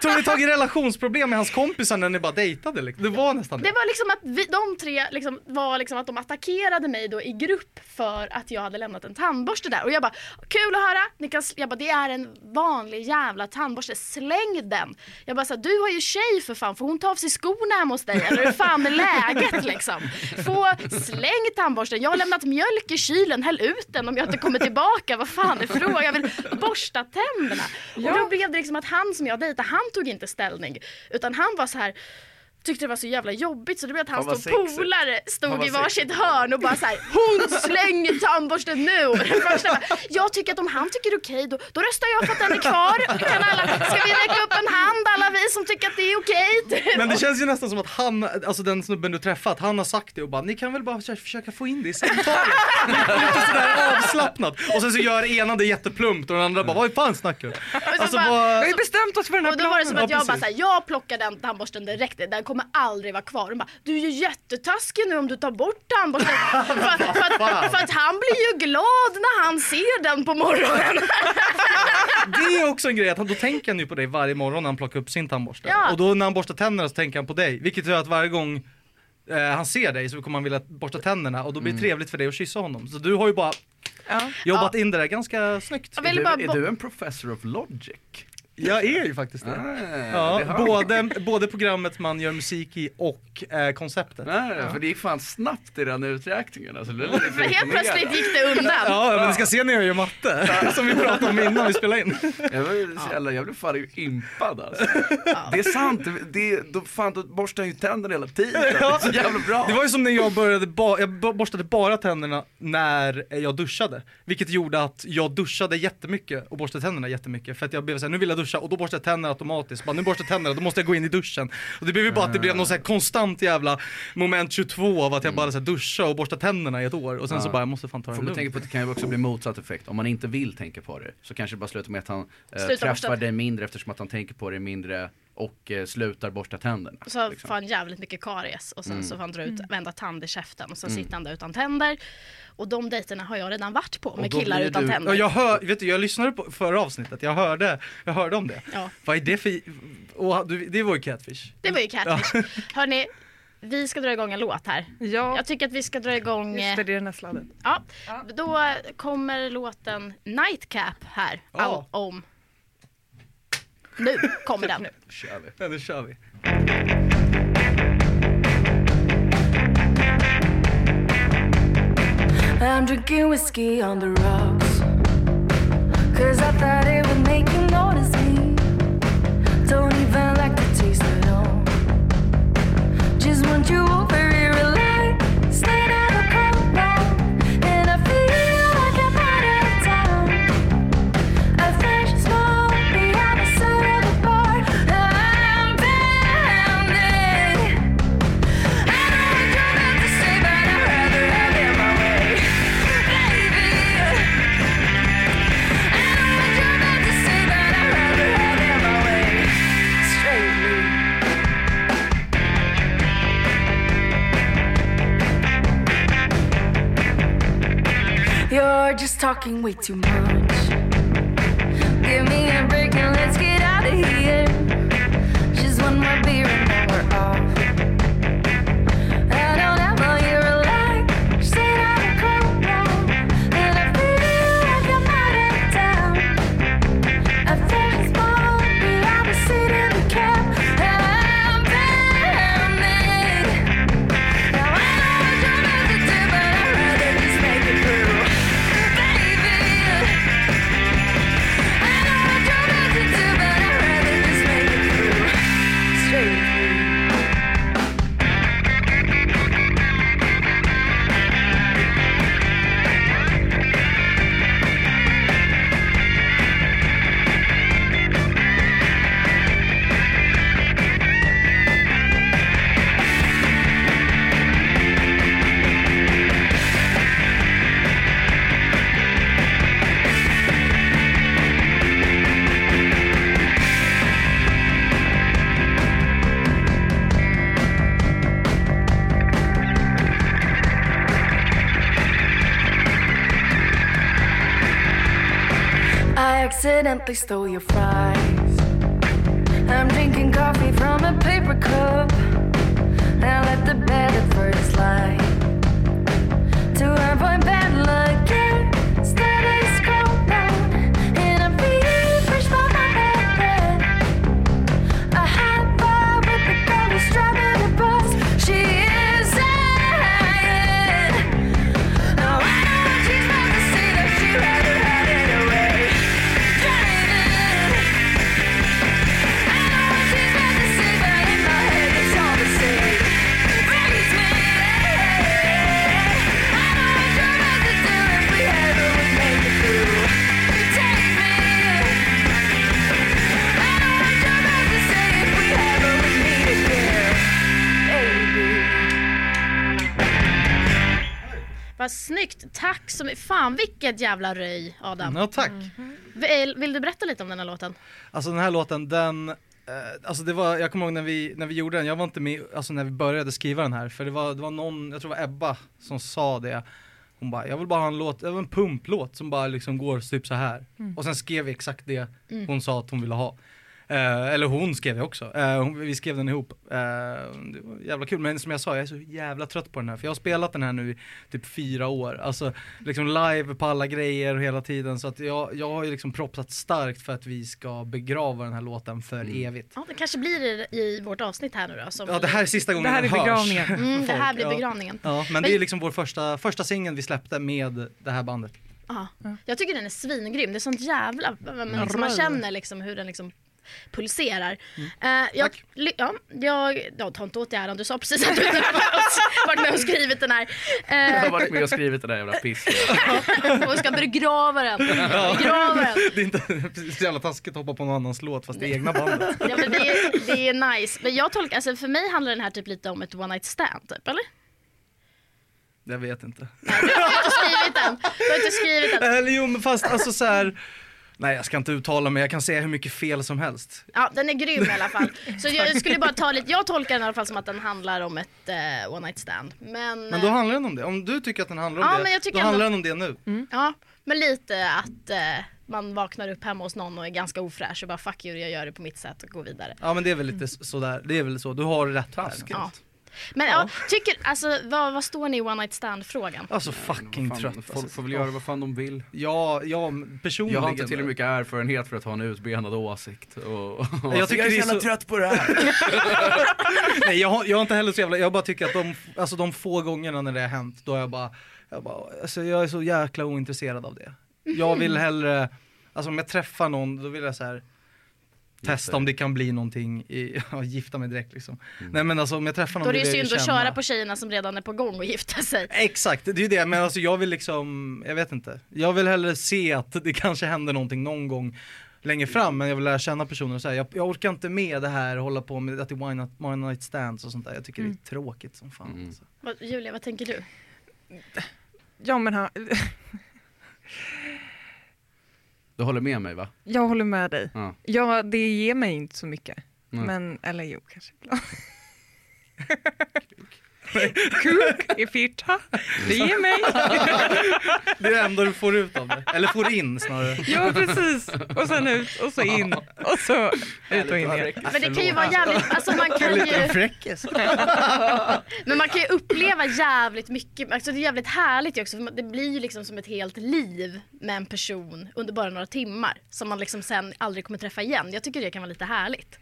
[laughs] tog ni tag i relationsproblem med hans kompisar när ni bara dejtade? liksom? Det var nästan det.
Det var liksom att vi, de tre liksom, var liksom att de attackerade mig då i grupp för att jag hade lämnat en tandborste där. Och jag bara, kul att höra. Ni kan, sl-" jag bara, det är en vanlig jävla tandborste. Släng den. Jag bara, så här, du har ju tjej för fan. Får hon ta av sig skorna hemma hos dig? Eller hur fan är läget liksom? Få, släng tandborsten. Jag har lämnat mjölk i kylen. Häll ut den om jag inte kommer tillbaka. Vad fan är frågan? Jag vill borsta tänderna. Och då blev det liksom att han som jag dejtade, han tog inte ställning. Utan han var så här, tyckte det var så jävla jobbigt så det blev att
Fan, vad
hans då
sexigt.
polare
Fan,
stod
vad
i varsitt hörn och bara såhär Hon slänger tandborsten nu! Och den första bara, jag tycker att om han tycker det är okej då, då röstar jag för att den är kvar. Kan alla, ska vi räcka upp en hand alla vi som tycker att det är okej? [laughs] Typ.
Men det känns ju nästan som att han, alltså den snubben du träffat, han har sagt det och bara ni kan väl bara försöka- försöka få in det i samtalet. [laughs] Lite sådär avslappnat. Och sen så gör ena det jätteplumpt och den andra bara vad fan snackar du?
Och så
Alltså
bara-
Vi
vad...
har ju bestämt oss för den här
Och då var det som
Ja,
planen.
att jag bara
precis.
såhär, jag plockar den tandborsten direkt, den kommer aldrig vara kvar. Hon bara, du är ju jättetaskig nu om du tar bort tandborsten. för, för, för, för att han blir ju glad när han ser den på morgonen.
Det är också en grej att han, då tänker han ju på dig varje morgon när han plockar upp sin tandborste.
Ja.
Och då när han borstar tänderna så tänker han på dig. Vilket gör att varje gång eh, han ser dig så kommer han vilja borsta tänderna och då blir det trevligt för dig att kyssa honom. Så du har ju bara
Ja.
jobbat in det där ganska snyggt.
Jag
Är
vill
du,
bara
är
bo-
du en professor of logic?
Jag är ju faktiskt det.
Ah, det
Ja,
hör
både, både programmet man gör musik i och eh, konceptet.
Nej, nej, nej, Ah, för det gick fan snabbt i den uträkningen. Alltså, det
[laughs] För helt plötsligt gick det undan.
Ja, men ni ska se när jag gör matte, [laughs] som vi pratade om innan vi spelade in.
Jag, var, ju så jävla, jag blev fan
[laughs]
impad alltså. Det är sant, det- det, då, fan, då borstar han ju tänderna
[laughs]
hela tiden. Det är så jävla bra.
Det var ju som när jag började, ba- jag bo- borstade bara tänderna när jag duschade. Vilket gjorde att jag duschade jättemycket och borstade tänderna jättemycket. För att jag blev såhär, nu vill jag duscha och då borstade jag tänderna automatiskt. Bara, nu borstar jag tänderna, då måste jag gå in i duschen. Och det blev ju bara att det blev någon såhär konstant jävla moment 22 av att jag bara såhär duscha och borsta tänderna i ett år. Och sen så
Ja.
bara, jag måste fan ta det
Får man
lugnt.
tänka på att det kan ju också bli motsatt effekt. Om man inte vill tänka på det så kanske det bara slutar med att han eh,
Slutar borsta-
träffar dig mindre eftersom att han tänker på det mindre och eh, slutar borsta tänderna.
Och så
liksom.
får han jävligt mycket karies och sen
Mm.
så får han dra ut
Mm.
varenda tand i käften och sen sitter han där utan tänder. Och de dejterna har jag redan varit på med
då
killar
blir
utan
du-
tänder.
Ja, jag, hör, vet du, jag lyssnade på förra avsnittet, jag hörde, jag hörde om det.
Ja.
Vad är det för... Och, du, det var ju catfish.
Det var ju catfish.
[laughs]
Hörni, vi ska dra igång en låt här.
Ja,
Jag tycker att vi ska dra igång...
just
eh,
det, det är den här sladden.
Ja, då kommer låten Nightcap här.
Ja.
Allt om... Nu
[laughs]
kommer den.
Kör vi.
Ja, nu kör vi.
I'm drinking whiskey on the rocks. Cause I thought it would make you notice me. Don't even like the taste at all. Just want you over here, relax. Slide out the compound. And I feel like I'm out of town. A fresh smoke behind the side of the bar. I'm bounded. I know what you're about to say, but I'd rather have it my way. Baby, talking way too much. Give me a break and let's get out of here. Just one more beer and then we're off. I don't have all your relax, sit on the ground, and I feel like I'm out of town. I think it's more me, I was sitting in the cab, and I'm burning. Now I know what you're meant to do, but I'd rather just make it through, baby. I know what you're meant to do, but I'd rather just make it through, straight through. I accidentally stole your fries. I'm drinking coffee from a paper cup. Now let the bed at first light. To avoid bad luck, yeah, steady scroll down. And I'm refreshed by my bed. A hot bar with the girl who's driving the bus. She is saying, Now I know what she's meant to see, that she'd rather have it away.
Vad snyggt, tack så mycket. Fan vilket jävla röj Adam.
Ja, tack.
Vill, vill du berätta lite om den här låten?
Alltså den här låten, den, eh, alltså det var, jag kommer ihåg när vi, när vi gjorde den, jag var inte med, alltså när vi började skriva den här, för det var, det var någon, jag tror det var Ebba som sa det, hon bara, jag vill bara ha en låt, det var en pumplåt som bara liksom går typ så här. Och sen skrev vi exakt det hon sa att hon ville ha. Eh, eller hon skrev det också, Eh, hon, vi skrev den ihop. Eh, det var jävla kul, men som jag sa, jag är så jävla trött på den här, för jag har spelat den här nu i typ fyra år. Alltså liksom live på alla grejer och hela tiden, så att jag, jag har ju liksom propsat starkt för att vi ska begrava den här låten för
Mm.
evigt.
Ja, det kanske blir i, i vårt avsnitt här nu då. Som
Ja, det här är sista gången
Det här
den
är
hörs. [laughs]
begravningen.
mm, det här
folk,
blir
ja.
begravningen.
Ja, men, det är liksom vår första, första singeln vi släppte med det här bandet. [laughs]
Ja. Jag tycker den är svingrym. Det är sånt jävla... Men liksom, man
rör.
känner liksom hur den liksom pulserar. Eh, jag,
Mm. Tack.
ly- ja, jag, ja, ta inte åt dig äran, du sa precis att du inte har varit med och skrivit den här.
Jag
Eh,
har varit med och skrivit det där jävla
[laughs]
pisset.
och ska begrava den. Begrava den.
Det är inte precis så jävla taskigt att hoppa på någon annans låt fast det är egna bandet.
Ja, men det, är, det är nice. Men jag tolkar, alltså, för mig handlar den här typ lite om ett one night stand, typ, eller?
Jag vet inte.
Jag har inte skrivit den. Jag har inte skrivit den.
Eller jo men fast alltså så här. Nej jag ska inte uttala mig, jag kan säga hur mycket fel som helst.
Ja, den är grym i alla fall. Så jag skulle bara ta lite, jag tolkar den i alla fall som att den handlar om ett eh, one night stand. Men,
Men då handlar den om det, om du tycker att den handlar om
Ja,
det,
men jag tycker
då
ändå-
handlar den om det nu.
Ja, men lite att eh, man vaknar upp hemma hos någon och är ganska ofräsch och bara fuck you, jag gör det på mitt sätt och går vidare.
Ja men det är väl lite så- sådär, det är väl så, du har rätt här.
Ja. Men ja, tycker, alltså vad, vad står ni i one night stand frågan?
Alltså fucking
Fan,
trött
Folk
alltså.
får väl göra vad fan de vill.
Ja, ja personligen.
Jag har inte tillräckligt mycket erfarenhet för att ha en utbenad åsikt. Och, och
Jag
[laughs]
tycker det är så...
trött på det här.
[laughs] Nej jag har, jag har inte heller så jävla, jag bara tycker att de, alltså de få gångerna när det har hänt, då har jag bara, jag bara, alltså jag är så jäkla ointresserad av det. Jag vill hellre, alltså om jag träffar någon, då vill jag så här testa om det kan bli någonting, i, [laughs] ja, gifta mig direkt liksom. Nej men alltså om jag träffar någon
Då är det ju
vill jag
synd att
känna-
köra på tjejerna som redan är på gång och gifta sig.
Exakt, det är ju det, men alltså jag vill liksom, jag vet inte. Jag vill hellre se att det kanske händer någonting någon gång längre fram, men jag vill lära känna personer och säga, jag, jag orkar inte med det här, hålla på med att det är one night, one night stands och sånt där. Jag tycker
Mm.
det är tråkigt som fan. Alltså.
Vad, Julia, vad tänker du?
Ja, men ha,
Du håller med mig va?
jag håller med dig.
Ja.
Ja, det ger mig inte så mycket.
Nej.
Men, eller jo, kanske ibland. Kuk i fitta. Det ger mig.
Det är det enda du får ut av det. Eller får in snarare.
Ja, precis. Och sen ut och så in. Och så ut och in igen.
Men det kan ju vara jävligt, alltså man kan ju,
fräckis.
men man kan ju uppleva jävligt mycket, alltså det är jävligt härligt ju också för det blir ju liksom som ett helt liv med en person under bara några timmar som man liksom sen aldrig kommer träffa igen. Jag tycker det kan vara lite härligt.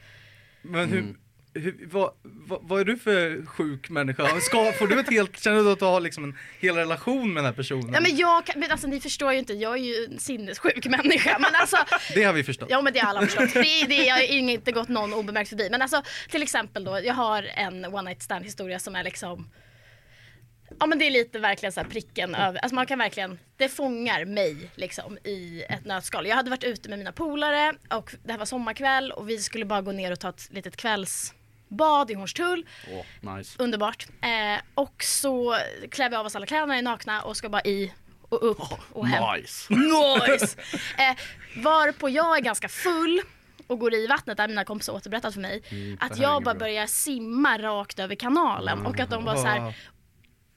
Men hur, hur vad, vad, vad är du för sjuk människa? Ska, får du ett helt, känner du att du har liksom en hel relation med den här personen?
Ja men jag kan, men alltså ni förstår ju inte, jag är ju en sinnessjuk människa men alltså
Det har vi förstått.
Ja men det har alla förstått. Det, det har ju inte gått någon obemärkt förbi. Men alltså till exempel då, jag har en one night stand historia som är liksom Ja men det är lite verkligen så här pricken över, alltså man kan verkligen, det fångar mig liksom i ett nötskal. Jag hade varit ute med mina polare och det här var sommarkväll och vi skulle bara gå ner och ta ett litet kvällsbad i Hornstull.
Åh, nice.
Underbart. Eh, och så klär vi av oss alla kläderna, är nakna och ska bara i och upp och hem.
Oh, Nice. [laughs]
Nice! eh, varpå jag är ganska full och går i vattnet, där mina kompisar återberättat för mig, att
Mm, här är
jag
inget
bara
bra.
börjar simma rakt över kanalen och att de bara så här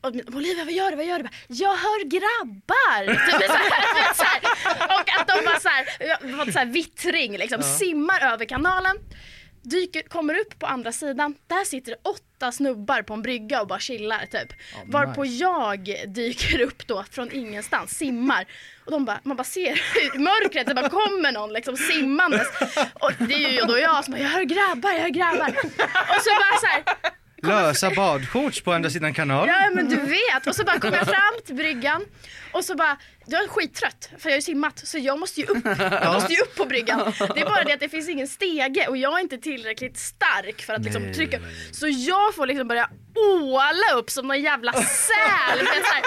och min- Olivia vad gör du, vad gör du? Bara, Jag hör grabbar! Typ så här, [laughs] du vet, så här. Och att de bara så här, jag- vad så här vittring liksom, simmar över kanalen. Dyker, kommer upp på andra sidan, där sitter det åtta snubbar på en brygga och bara chillar typ. Varpå jag dyker upp då från ingenstans, simmar. Och de bara, man bara ser i mörkret, det bara kommer någon liksom simmandes. Och det är ju då jag som bara, jag hör grabbar, jag hör grabbar. Och så bara så här,
Lösa badshorts på andra sidan kanalen.
Ja men du vet. Och så bara kom jag fram till bryggan och så bara, jag är skittrött för jag har ju simmat så jag måste ju upp. Jag måste ju upp på bryggan. Det är bara det att det finns ingen stege och jag är inte tillräckligt stark för att liksom trycka. Så jag får liksom börja åla upp som någon jävla säl. du vet, så här,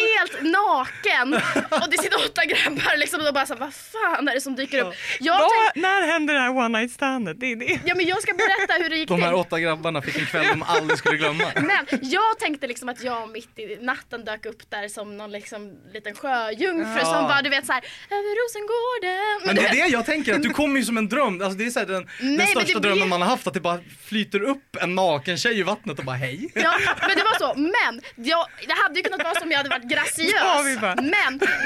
Helt naken. Och det sitter åtta grabbar liksom och de bara såhär, vad fan är det som dyker upp? Jag tänkte,
Vad- när händer det här one night standet? Det är det.
ja men jag ska berätta hur det gick
De här
till.
åtta grabbarna fick en kväll de aldrig skulle glömma.
Men jag tänkte liksom att jag mitt i natten dök upp där som någon liksom liten sjöjungfru
Ja.
som bara du vet såhär över Rosengården.
Men det är
du vet,
det jag tänker, att du kommer ju som en dröm. Alltså det är så här den, den
men
största
det blir-
drömmen man har haft, att det bara flyter upp en naken tjej i vattnet och bara hej.
[laughs] Ja, men det var så. Men jag, det hade ju kunnat vara som jag
[laughs]
hade varit
Ja,
graciös.
vi bara-
Men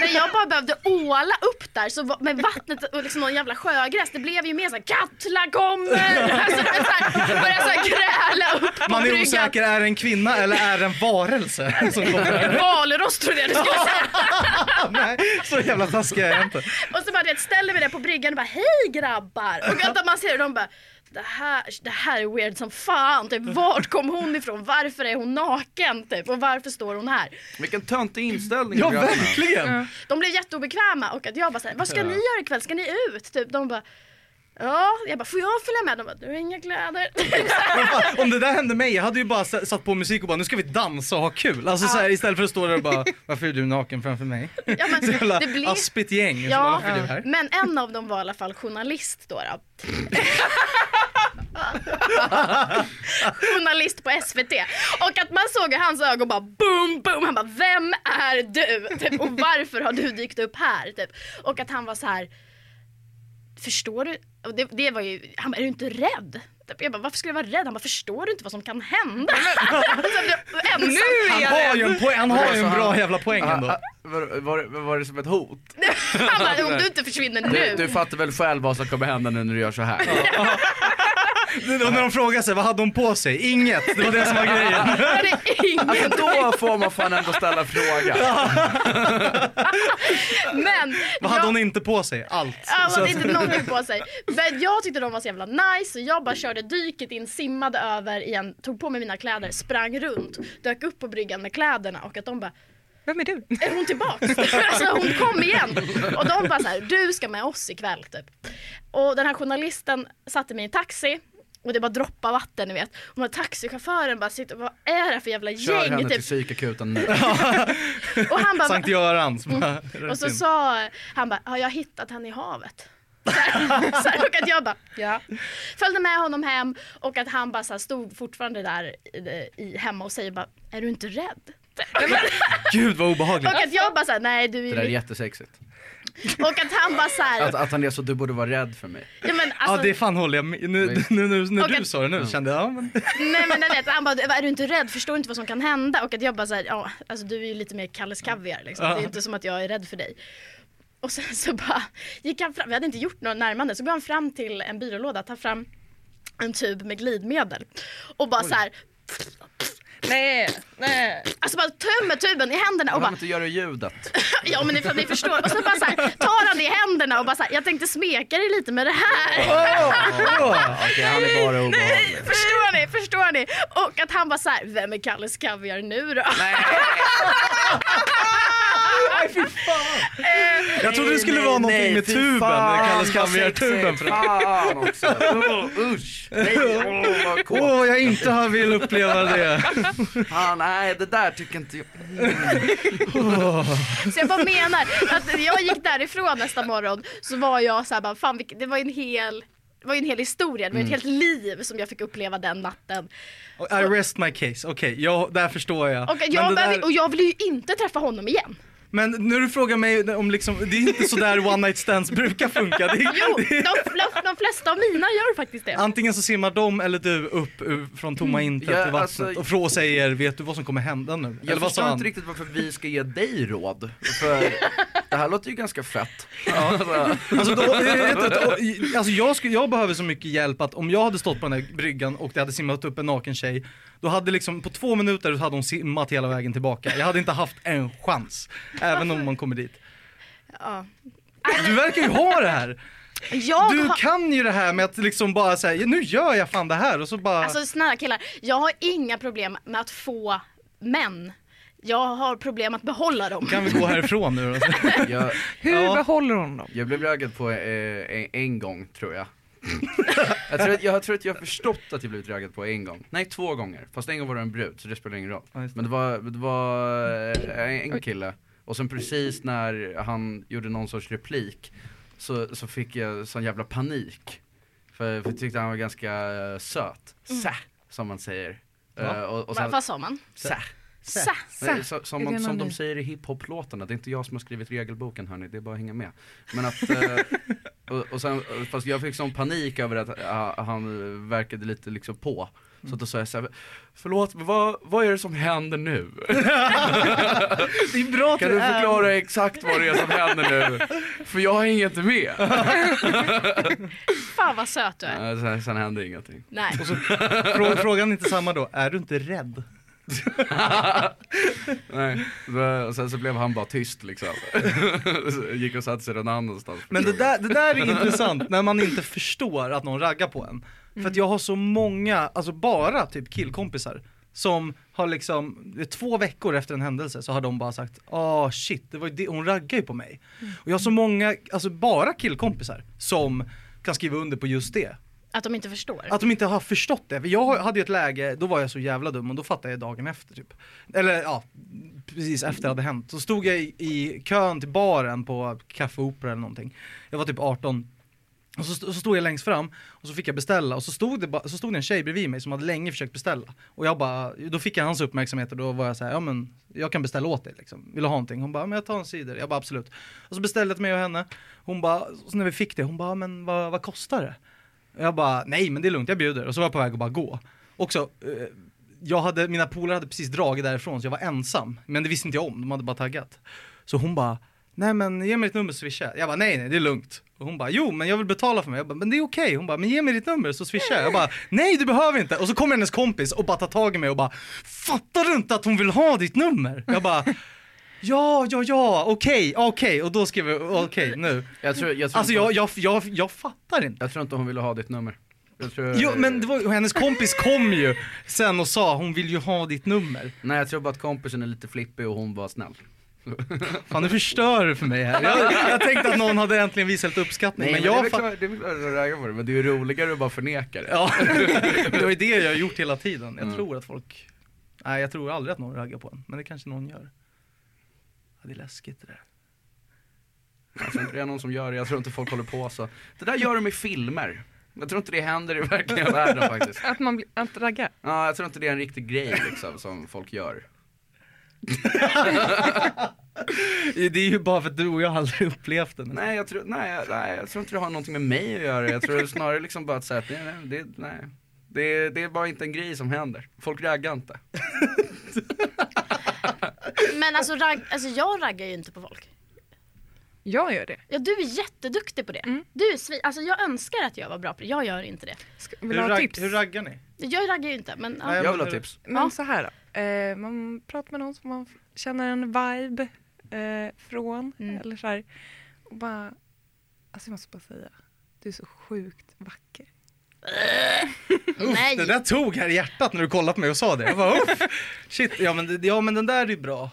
när jag bara behövde åla upp där så var, med vattnet och liksom någon jävla sjögräs det blev ju mer såhär Katla
[laughs]
kommer! Alltså, du vet, så här, började såhär gräla upp på
Man är
bryggan.
osäker, är det en kvinna eller är det en varelse som
[laughs]
kommer?
Valross trodde jag du skulle säga.
Nej, så jävla taskig är jag inte.
Och så bara du vet, ställer vi det på bryggan och bara hej grabbar! Och att man ser hur de bara det här, det här är weird som fan, typ vart kom hon ifrån? Varför är hon naken? Typ? Och varför står hon här?
Vilken töntig inställning
Ja,
grabbarna.
verkligen.
De blev jätteobekväma och att jag bara såhär, vad ska
Ja.
ni göra ikväll? Ska ni ut? Typ, de bara Ja, jag bara får jag följa med? De bara du har inga kläder. [laughs]
Men fan, Om det där hände mig, jag hade ju bara s- satt på musik och bara nu ska vi dansa och ha kul. Alltså så här, istället för att stå där och
[laughs]
bara varför är du naken framför mig?
ja,
[laughs]
men,
Så jävla
det blev...
aspigt gäng. Så bara,
Ja,
varför är du här?
men en av dem var i alla fall journalist då. då.
[laughs]
journalist på SVT. Och att man såg i hans ögon bara boom, boom. Han bara, vem är du? Typ, och varför har du dykt upp här? Typ. Och att han var så här, förstår du? Och det, det var ju, han bara, är du inte rädd? Typ, Jag bara, varför skulle jag vara rädd? Han bara, förstår du inte vad som kan hända?
[laughs]
alltså, du, är ensam.
Han har ju en, poäng, han har ju en bra jävla poäng
Ah,
ändå.
ah, var, var, var det som ett hot?
Han bara, om du inte försvinner nu.
Du, du fattar väl själv vad som kommer hända nu när du gör så här?
Och när de frågar sig vad hade hon på sig? Inget, det var det som var grejen.
Var det ingen
Alltså då får man fan ändå ställa frågan.
Men
Vad
jag-
hade hon inte på sig? Allt.
Ja, man
Så
hade
att-
Alltså, inte någonting på sig. Men jag tyckte de var så jävla nice så jag bara
Mm.
körde dyket in, simmade över igen, tog på mig mina kläder, sprang runt, dök upp på bryggan med kläderna och att de bara
Vem är du?
är hon
[laughs]
tillbaks? alltså hon kom igen! Och de bara så här, du ska med oss ikväll typ. Och den här journalisten satte mig i en taxi och det bara droppar vatten ni vet. Och den här taxichauffören bara sitter och vad är det för jävla
Kör
gäng?
henne till
Typ.
psykakuten nu.
Och han
[laughs]
bara, Mm.
Sankt Göran som bara röt
och så
in.
sa han bara, har jag hittat henne i havet? [laughs] Så här, så här, och att jag bara, ja. Följde med honom hem och att han bara så här, stod fortfarande där i, i, hemma och säger bara, är du inte rädd?
Gud vad obehagligt.
Och att jag bara såhär, nej du
Det
är
där är
ju
jättesexigt.
Och att han bara såhär,
Att, att han är så, du borde vara rädd för mig.
ja men
Ja
alltså,
det fan håller jag med nu,
Nej.
nu, nu, när
Och
du
att-
sa det nu kände jag, ja men
nej men jag vet, han bara, är du inte rädd? Förstår du inte vad som kan hända? Och att jag bara såhär, ja alltså du är ju lite mer Kalles Kaviar liksom. Det är ju inte som att jag är rädd för dig. Och sen så bara gick han fram, vi hade inte gjort något närmande, så går han fram till en byrålåda, tar fram en tub med glidmedel och bara såhär,
Nej, nej.
alltså bara tömmer tuben i händerna och
Han
bara
kan inte göra ljudet.
Ja men ifall ni förstår. Och så bara så här, tar han det i händerna och bara så här, jag tänkte smeka dig lite med det här.
Okej, han är bara obehaglig.
Förstår ni? Förstår ni? Och att han bara så här, vem är Kalles Kaviar nu då?
Jag trodde det skulle vara någonting med tuben, Kalles kaviar-tuben. för-
Fan också. Oh, usch. Nej, åh, vad
Åh,
kåt.
jag inte har vill uppleva det.
Fan, nej det där tycker inte jag.
Så jag bara menar att när jag gick därifrån nästa morgon så var jag så här bara, fan vilk- det var ju en hel det var ju en hel historia, det var ju ett
Mm.
helt liv som jag fick uppleva den natten.
I rest my case, okej, jag- där förstår jag.
Och, att
men,
jag,
det
behöver,
där-
och jag vill ju inte träffa honom igen.
men nu du frågar mig om liksom, det är inte så där one night stands brukar funka. Det,
Jo,
är-
de, de, de flesta av mina gör faktiskt det.
Antingen så simmar de eller du upp ur- från tomma intet
Ja,
till vattnet
alltså-
och Frå säger, vet du vad som kommer hända nu?
Jag
eller vad sa
förstår inte
han?
riktigt varför vi ska ge dig råd. För det här låter ju ganska fett.
Alltså, då, jag vet inte, då, alltså jag, skulle, jag behöver så mycket hjälp att om jag hade stått på den här bryggan och det hade simmat upp en naken tjej, då hade liksom på två minuter så hade hon simmat hela vägen tillbaka. Jag hade inte haft en chans, även om man kommer dit.
Ja.
Du verkar ju ha det här!
Jag
Du
har-
kan ju det här med att liksom bara säga nu gör jag fan det här och så bara...
Alltså snälla killar, jag har inga problem med att få män. Jag har problem att behålla dem.
kan vi gå härifrån nu då?
Jag,
Hur
Ja.
behåller hon dem?
jag blev raggad på eh, en, en gång tror jag. [laughs] jag, tror att, jag tror att jag har förstått att jag blivit raggad på en gång. Nej, två gånger. Fast en gång var det en brud, så det spelar ingen roll.
Ja, just det.
Men det var, det var eh, en kille, och sen precis när han gjorde någon sorts replik så, så fick jag sån jävla panik. För, för jag tyckte han var ganska eh, söt. Sä, som man säger.
Mm. Ja.
Eh, och, och
Va,
sen,
vad sa man?
sä.
Sa.
Nej, så, som
Är det
man, som
någon
de
ny?
säger i hiphop-låtarna, det är inte jag som har skrivit regelboken hörni, det är bara att hänga med. Men
[laughs]
att, eh, och, och sen, fast jag fick sån panik över att ah, han verkade lite liksom på. Så då sa jag såhär, förlåt men vad, vad är det som
[laughs]
händer nu?
[laughs] Det är bra att
Kan du förklara exakt vad det är som händer nu? För jag har inget med.
Fan vad söt du är.
Eh, Sen, sen
[laughs]
hände ingenting.
Nej.
Frå, frågan är inte samma då, är du inte rädd?
Nej. Så, sen så blev han bara tyst liksom. [laughs] Så Gick och satte sig någon annanstans.
Men det där, det där är intressant, när man inte förstår att någon raggar på en. För att jag har så många, alltså bara typ killkompisar, som har liksom, det är två veckor efter en händelse så har de bara sagt ah shit, det var ju det, hon raggar ju på mig. Och jag har så många, alltså bara killkompisar, som kan skriva under på just det.
Att de inte förstår.
Att de inte har förstått det. För jag hade ju ett läge, då var jag så jävla dum och då fattade jag dagen efter typ. Eller ja, precis efter det hade hänt. Så stod jag i, i kön till baren på Café Opera eller någonting. Jag var typ 18. Och så, st- så stod jag längst fram och så fick jag beställa och så stod, det ba- så stod det en tjej bredvid mig som hade länge försökt beställa. Och jag bara, då fick jag hans uppmärksamhet och då var jag så här, ja men jag kan beställa åt dig liksom. Vill du ha någonting? Hon bara, men jag tar en cider. Jag bara absolut. Och så beställde jag till mig och henne. Hon bara, så när vi fick det, hon bara, men vad, vad kostar det? Jag bara, nej men det är lugnt, jag bjuder. Och så var jag på väg att bara gå. Också, eh, jag hade, mina polare hade precis dragit därifrån så jag var ensam. Men det visste inte jag om, de hade bara taggat. Så hon bara, nej men ge mig ditt nummer så swishar jag. Jag bara, nej nej det är lugnt. Och hon bara, jo men jag vill betala för mig. Jag bara, men det är okej. Hon bara, men ge mig ditt nummer så swishar jag. Jag bara, nej du behöver inte. Och så kommer hennes kompis och bara tar tag i mig och bara, fattar du inte att hon vill ha ditt nummer? Jag bara, [laughs] ja, ja, ja, okej, okej. Och då skrev jag, okej nu.
Jag tror, jag tror
Alltså
inte-
jag, jag, jag, jag fattar inte.
Jag tror inte hon ville ha ditt nummer. Jag tror,
Jo men det var, och hennes kompis kom ju sen och sa hon vill ju ha ditt nummer.
Nej jag tror bara att kompisen är lite flippig och hon var snäll.
Fan nu förstör du för mig här. Jag, jag tänkte att någon hade äntligen visat uppskattning men,
det är
jag
väl
fa-
klart- det är väl klart att du raggar på det, men det är ju roligare att bara förneka det. [laughs]
Ja, det var ju det jag har gjort hela tiden. Jag
Mm.
tror att folk, nej jag tror aldrig att någon raggar på en men det kanske någon gör. Ja, det är läskigt det där.
Jag tror inte det är någon som gör det, jag tror inte folk håller på så. Det där gör de i filmer. Jag tror inte det händer
[laughs]
i verkliga världen faktiskt.
Att man blir, att ragga?
Ja, jag tror inte det är en riktig grej liksom som folk gör.
Det är ju bara för att du och jag aldrig [laughs] upplevt den.
Nej jag, tror, nej, jag- nej, jag tror inte det har någonting med mig att göra. Jag tror snarare liksom bara att säga att nej, nej, det, nej. Det, det är bara inte en grej som händer. Folk raggar inte.
Men alltså, ragg, alltså jag raggar ju inte på folk.
Jag gör det.
Ja, du är jätteduktig på det.
Mm.
Du är svi- alltså, jag önskar att jag var bra på det. Jag gör inte det.
Ska,
Hur,
vill du ha
ragg-
tips?
hur raggar ni?
Jag raggar ju inte men ja.
Nej,
Jag vill ha tips.
Men
Ja.
så här då. Eh, man pratar med någon som man f- känner en vibe eh, från.
Mm.
Eller så här. Och bara, alltså jag måste bara säga. Du är så sjukt vacker.
Nej.
Det där tog här i hjärtat när du kollade på mig och sa det. Jag bara, uff. Shit, ja men, det- ja men den där är bra.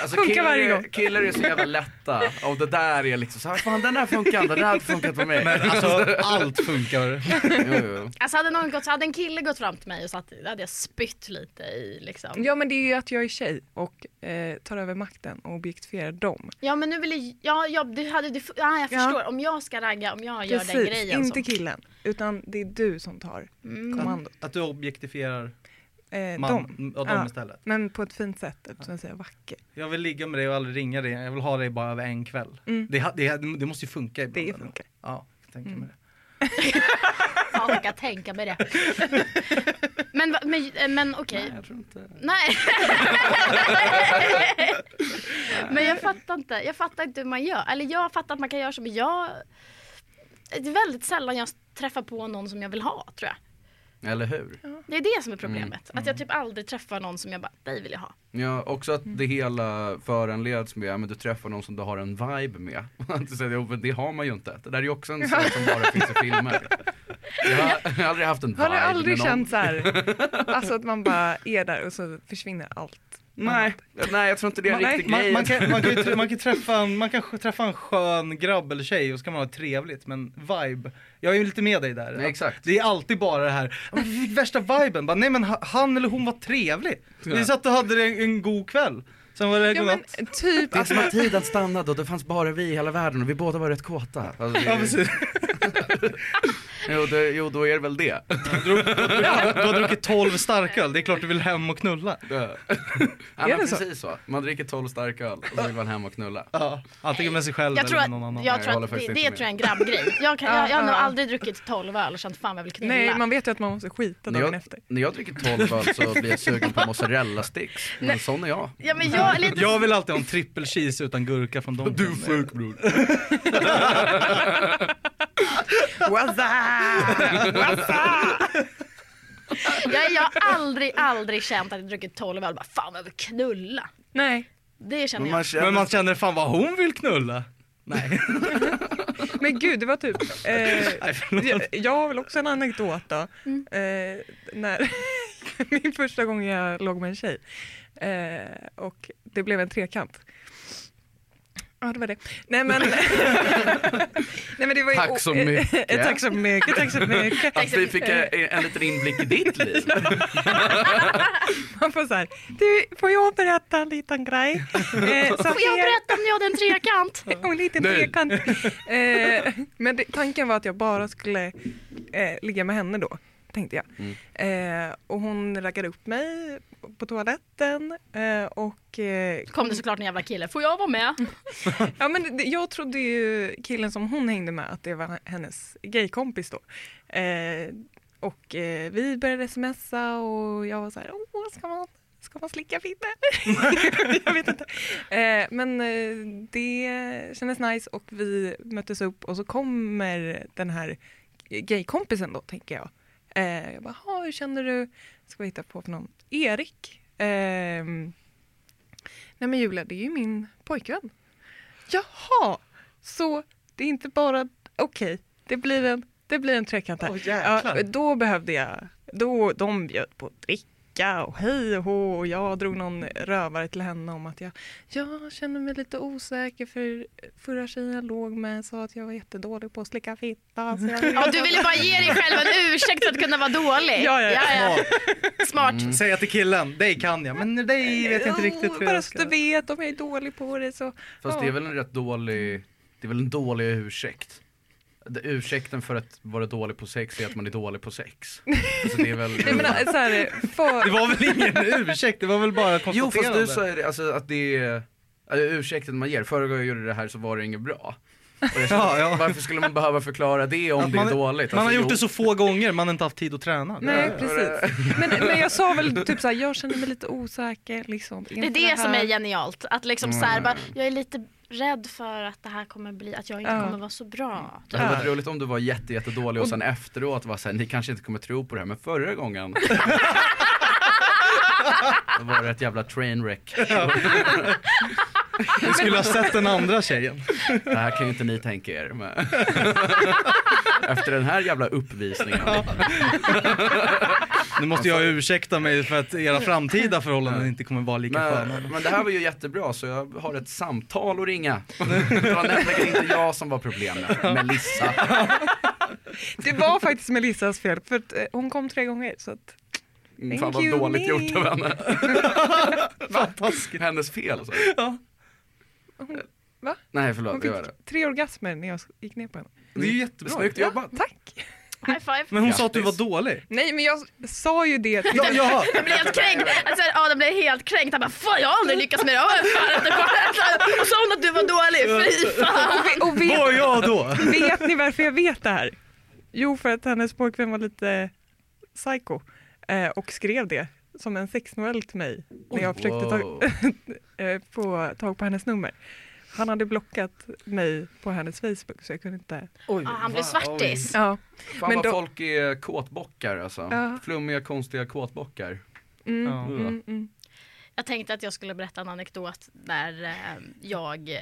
Alltså,
Funkar
killar,
varje
är,
gång.
killar är så jävla lätta. Och det där är liksom så här, fan den där funkar, den där hade funkat på mig.
Men alltså
[laughs]
allt funkar.
Jo, jo.
Alltså hade, någon gått, hade en kille gått fram till mig och satt, då hade jag spytt lite i liksom.
Ja men det är ju att jag är tjej och eh, tar över makten och objektifierar dem.
Ja men nu vill jag, ja, ja, du hade, du, ja jag
Ja.
förstår. Om jag ska ragga, om jag gör den grejen.
inte
som- Mm.
killen. Utan det är du som tar kommandot.
Att du objektifierar
Eh, dem.
man, och
Ja.
dem istället.
Men på ett fint sätt utan att säga vacker.
Jag vill ligga med dig och aldrig ringa dig. Jag vill ha dig bara över en kväll.
Mm.
Det, ha- det, det måste ju funka ibland.
Det
ändå.
funkar. Mm.
Ja, jag tänker mig det.
Fan jag kan
[laughs]
tänka mig det. men va- men, men okej.
Nej, jag tror inte.
Nej. men jag fattar inte. Jag fattar inte hur man gör. Eller jag fattar att man kan göra så men jag. Det är väldigt sällan jag träffar på någon som jag vill ha tror jag.
Eller hur?
Det är det som är problemet. Att jag typ aldrig träffar någon som jag bara, dig vill jag ha.
Ja, också att det hela föranleds med, ja, men du träffar någon som du har en vibe med. [laughs] Att du säger, "Jo, men det har man ju inte. Det där är ju också en sak som bara finns i filmer. Jag har, jag har aldrig haft en vibe
Har du aldrig
med någon.
känt så här, alltså att man bara är där och så försvinner allt?
Nej, nej jag tror inte det är en
Nej,
riktig
Man,
grej.
man, kan, man, kan, ju tr- man, kan träffa en, man kan träffa en skön grabb eller tjej och så kan man ha trevligt men vibe, jag är ju lite med dig där.
Nej, exakt.
Det är alltid bara det här, "Men vi fick värsta viben, bara, nej men ha- han eller hon var trevlig. Vi
Ja.
satt och hade en, en god kväll. Sen var det
Ja
godnatt.
men typ
Det är
att
som
man,
att tiden stannade och det fanns bara vi i hela världen och vi båda var rätt kåta. Alltså, det,
Ja precis.
jo, det, jo, då är det väl det.
Du har druckit 12 starköl, det är klart du vill hem och knulla.
[laughs]
Ja, men
Är det så?
precis så? Man dricker 12 starka öl och så vill man hem och knulla.
Ja, antingen med sig själv
Jag
eller
tror
med någon annan.
att, jag
Nej,
tror
jag
att
håller
det,
faktiskt
det
inte
tror jag är en grabbgrej. Jag, kan,
Ja,
jag, jag har nog
ja.
aldrig druckit 12 öl och känt fan vad jag vill knulla.
nej man vet ju att man måste skita
När
dagen
jag,
efter.
när jag dricker 12 öl så blir jag sugen på mozzarella sticks. Men sån är jag.
Ja men jag
[laughs]
är lite,
Jag vill alltid ha en trippel cheese utan gurka från dem.
sjuk bror.
What's that?
jag, jag har aldrig, aldrig känt att jag druckit 12 öl och bara fan vad jag vill knulla.
Nej,
Det känner
Men
jag.
man
Men
känner
man känner fan vad hon vill knulla. [laughs] Nej,
men gud det var typ, eh,
nej förlåt.
jag, jag har väl också en anekdot då.
Mm.
Eh, när, [laughs] min första gång jag låg med en tjej eh, och det blev en trekant. Ja det var det. Nej
[laughs]
men, nej, men det var ju,
Tack så
[laughs]
mycket.
tack så mycket, tack så
[laughs]
mycket.
att vi Alltså, fick en, en liten inblick i ditt
[laughs]
liv.
Man får så här, du, får jag berätta en liten
[laughs]
grej? Eh, som
Får jag
är-
berätta om jag hade en trekant?
[laughs] Och en liten
Nej.
trekant. Eh, men det, tanken var att jag bara skulle eh, ligga med henne då, tänkte jag. Eh, och hon raggade upp mig på toaletten eh, och eh,
Kom det såklart en jävla kille. Får jag vara med?
ja, men det, jag trodde ju killen som hon hängde med att det var hennes gaykompis då. Eh, och eh, vi började smsa och jag var så här, åh ska man, ska man slicka fitta? [laughs] jag vet inte. Eh, men eh, det kändes nice och vi möttes upp och så kommer den här gaykompisen då tänker jag. Eh, jag bara, "Ha, hur känner du? Ska vi hitta på för någon? Erik. Ehm, Nej men Julia, det är ju min pojkvän. Jaha, så det är inte bara, okej, det blir en, det blir en trekant här.
Åh, jäklar.
Ja, då behövde jag, då, de bjöd på att dricka och hej och hå och jag drog någon rövare till henne om att jag, jag känner mig lite osäker för förra tjejen jag låg med sa att jag var jättedålig på att slicka fitta. Så jag
Ja, du ville bara ge dig själv en ursäkt för att kunna vara dålig.
Ja, ja, ja.
Smart.
Säga till killen, dig kan jag, men dig vet jag inte riktigt hur
Bara
jag
så
ska...
att du vet, om jag är dålig på det så.
Fast det är väl en rätt dålig, det är väl en dålig ursäkt. Det- Ursäkten för att vara dålig på sex är att man är dålig på sex. Alltså, det
[laughs]
är väl...
Jag menar så här, för...
Det var väl ingen ursäkt, det var väl bara
Jo fast
konstaterande.
du sa ju det, alltså att det är, äh, ursäkten man ger, förra gången jag gjorde det här så var det inget bra.
[laughs]
Och jag kände,
Ja, ja.
Varför skulle man behöva förklara det om
Att
det är
man-
dåligt?
Man har
Alltså,
gjort det så
jo,
få gånger, man har inte haft tid att träna.
Nej,
Ja,
precis. Men, men jag sa väl typ så här, jag känner mig lite osäker. Liksom,
Det är det som är genialt. Att liksom
Mm.
så här, bara, jag är lite rädd för att det här kommer bli, att jag inte
Ja.
kommer vara så bra.
Det hade varit roligt om du var jätte, jätte dålig och sen efteråt var såhär, ni kanske inte kommer tro på det här men
[laughs]
förra gången Då var det ett jävla trainwreck.
Du skulle ha sett den andra tjejen.
Det här kan ju inte ni tänka er.
[laughs]
Men... Efter den här jävla uppvisningen.
Nu måste
Alltså-
jag ursäkta mig för att era framtida förhållanden inte kommer vara lika sköna.
Men, men det här var ju jättebra så jag har ett samtal att ringa. Det var nämligen inte jag som
[laughs]
var problemet, Melissa.
Det var faktiskt Melissas fel, för att, eh, hon kom tre gånger. Så att,
Mm, Fan
Thank
vad
you,
dåligt
me.
gjort av henne.
[laughs]
Fantastiskt.
Hennes fel så.
va?
Nej
Hon
förlåt,
fick
jag gör det.
tre orgasmer när jag gick ner på henne.
Det är ju jättebra.
Snyggt jobbat.
Tack!
High five.
Men hon sa att du var
Grattis.
dålig.
Nej, men jag sa ju [laughs] det. till-
Ja, jaha.
Jag blev helt [laughs] kränkt. Alltså, Adam blev helt kränkt. Han bara, fan jag har aldrig lyckats med det. Jag har erfarenhet och koll." Och sa hon att du var dålig? Fy fan.
Och vet,
Var jag då?
vet ni varför jag vet det här? Jo, för att hennes pojkvän var lite psycho eh, och skrev det som en sexnovell till mig när jag försökte ta,
Wow.
eh, få tag på hennes nummer. Han hade blockat mig på hennes Facebook så jag kunde inte...
Oj,
Ja, han blev
wow.
svartis.
Ja.
Fan
Men
vad
då-
folk är kåtbockar alltså.
Ja.
Flummiga konstiga kåtbockar.
Mm,
Ja.
mm, mm.
Jag tänkte att jag skulle berätta en anekdot när eh, jag eh,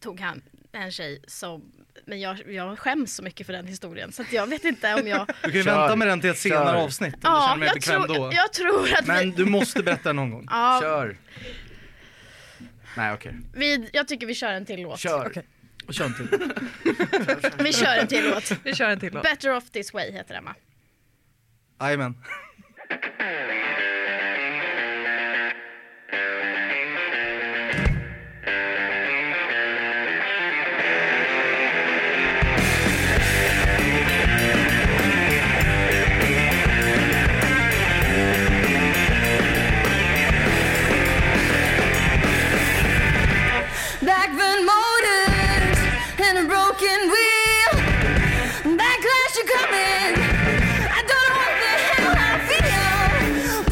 tog hem en tjej som, men jag, jag skäms så mycket för den historien så att jag vet inte om jag,
Du kan ju
Kör.
vänta med den till ett senare
Kör.
avsnitt om du
ja,
känner mig
jag,
bekväm
tror,
då.
jag tror att
Men
vi,
du måste berätta någon gång.
ja,
Kör. Nej okej.
vi, jag tycker vi kör en till låt.
Kör.
Okej.
Och kör en till.
Vi kör en till låt.
Vi kör en till låt.
Better off this way heter den va?
Jajamän.
Backbone motors and a broken wheel. Backlash are coming. I don't know what the hell I feel.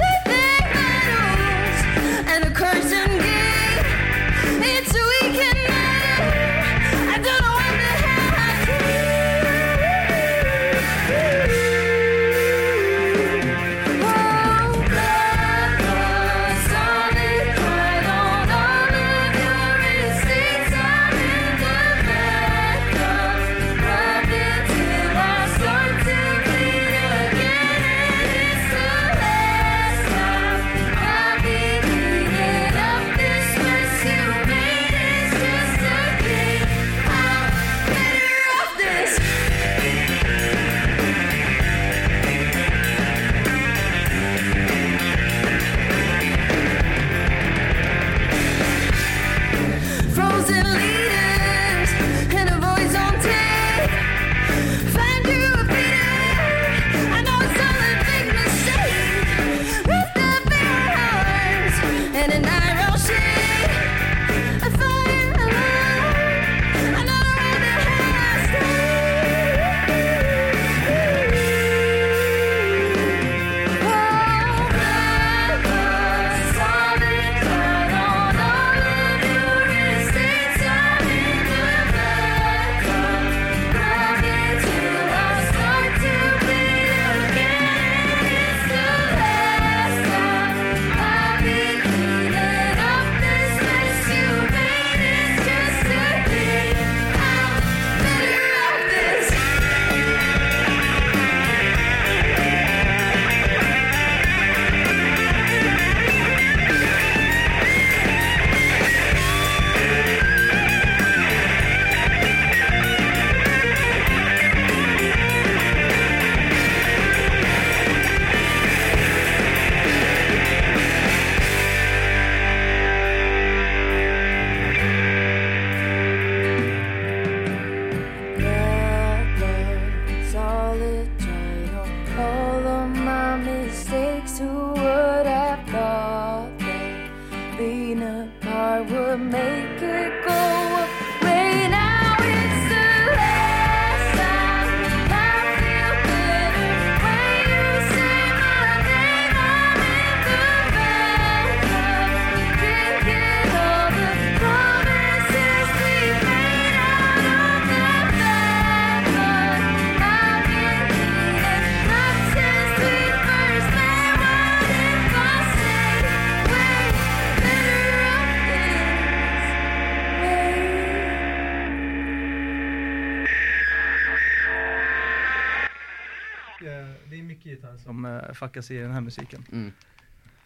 mycket gitarr som eh, fuckas i den här musiken.
Mm.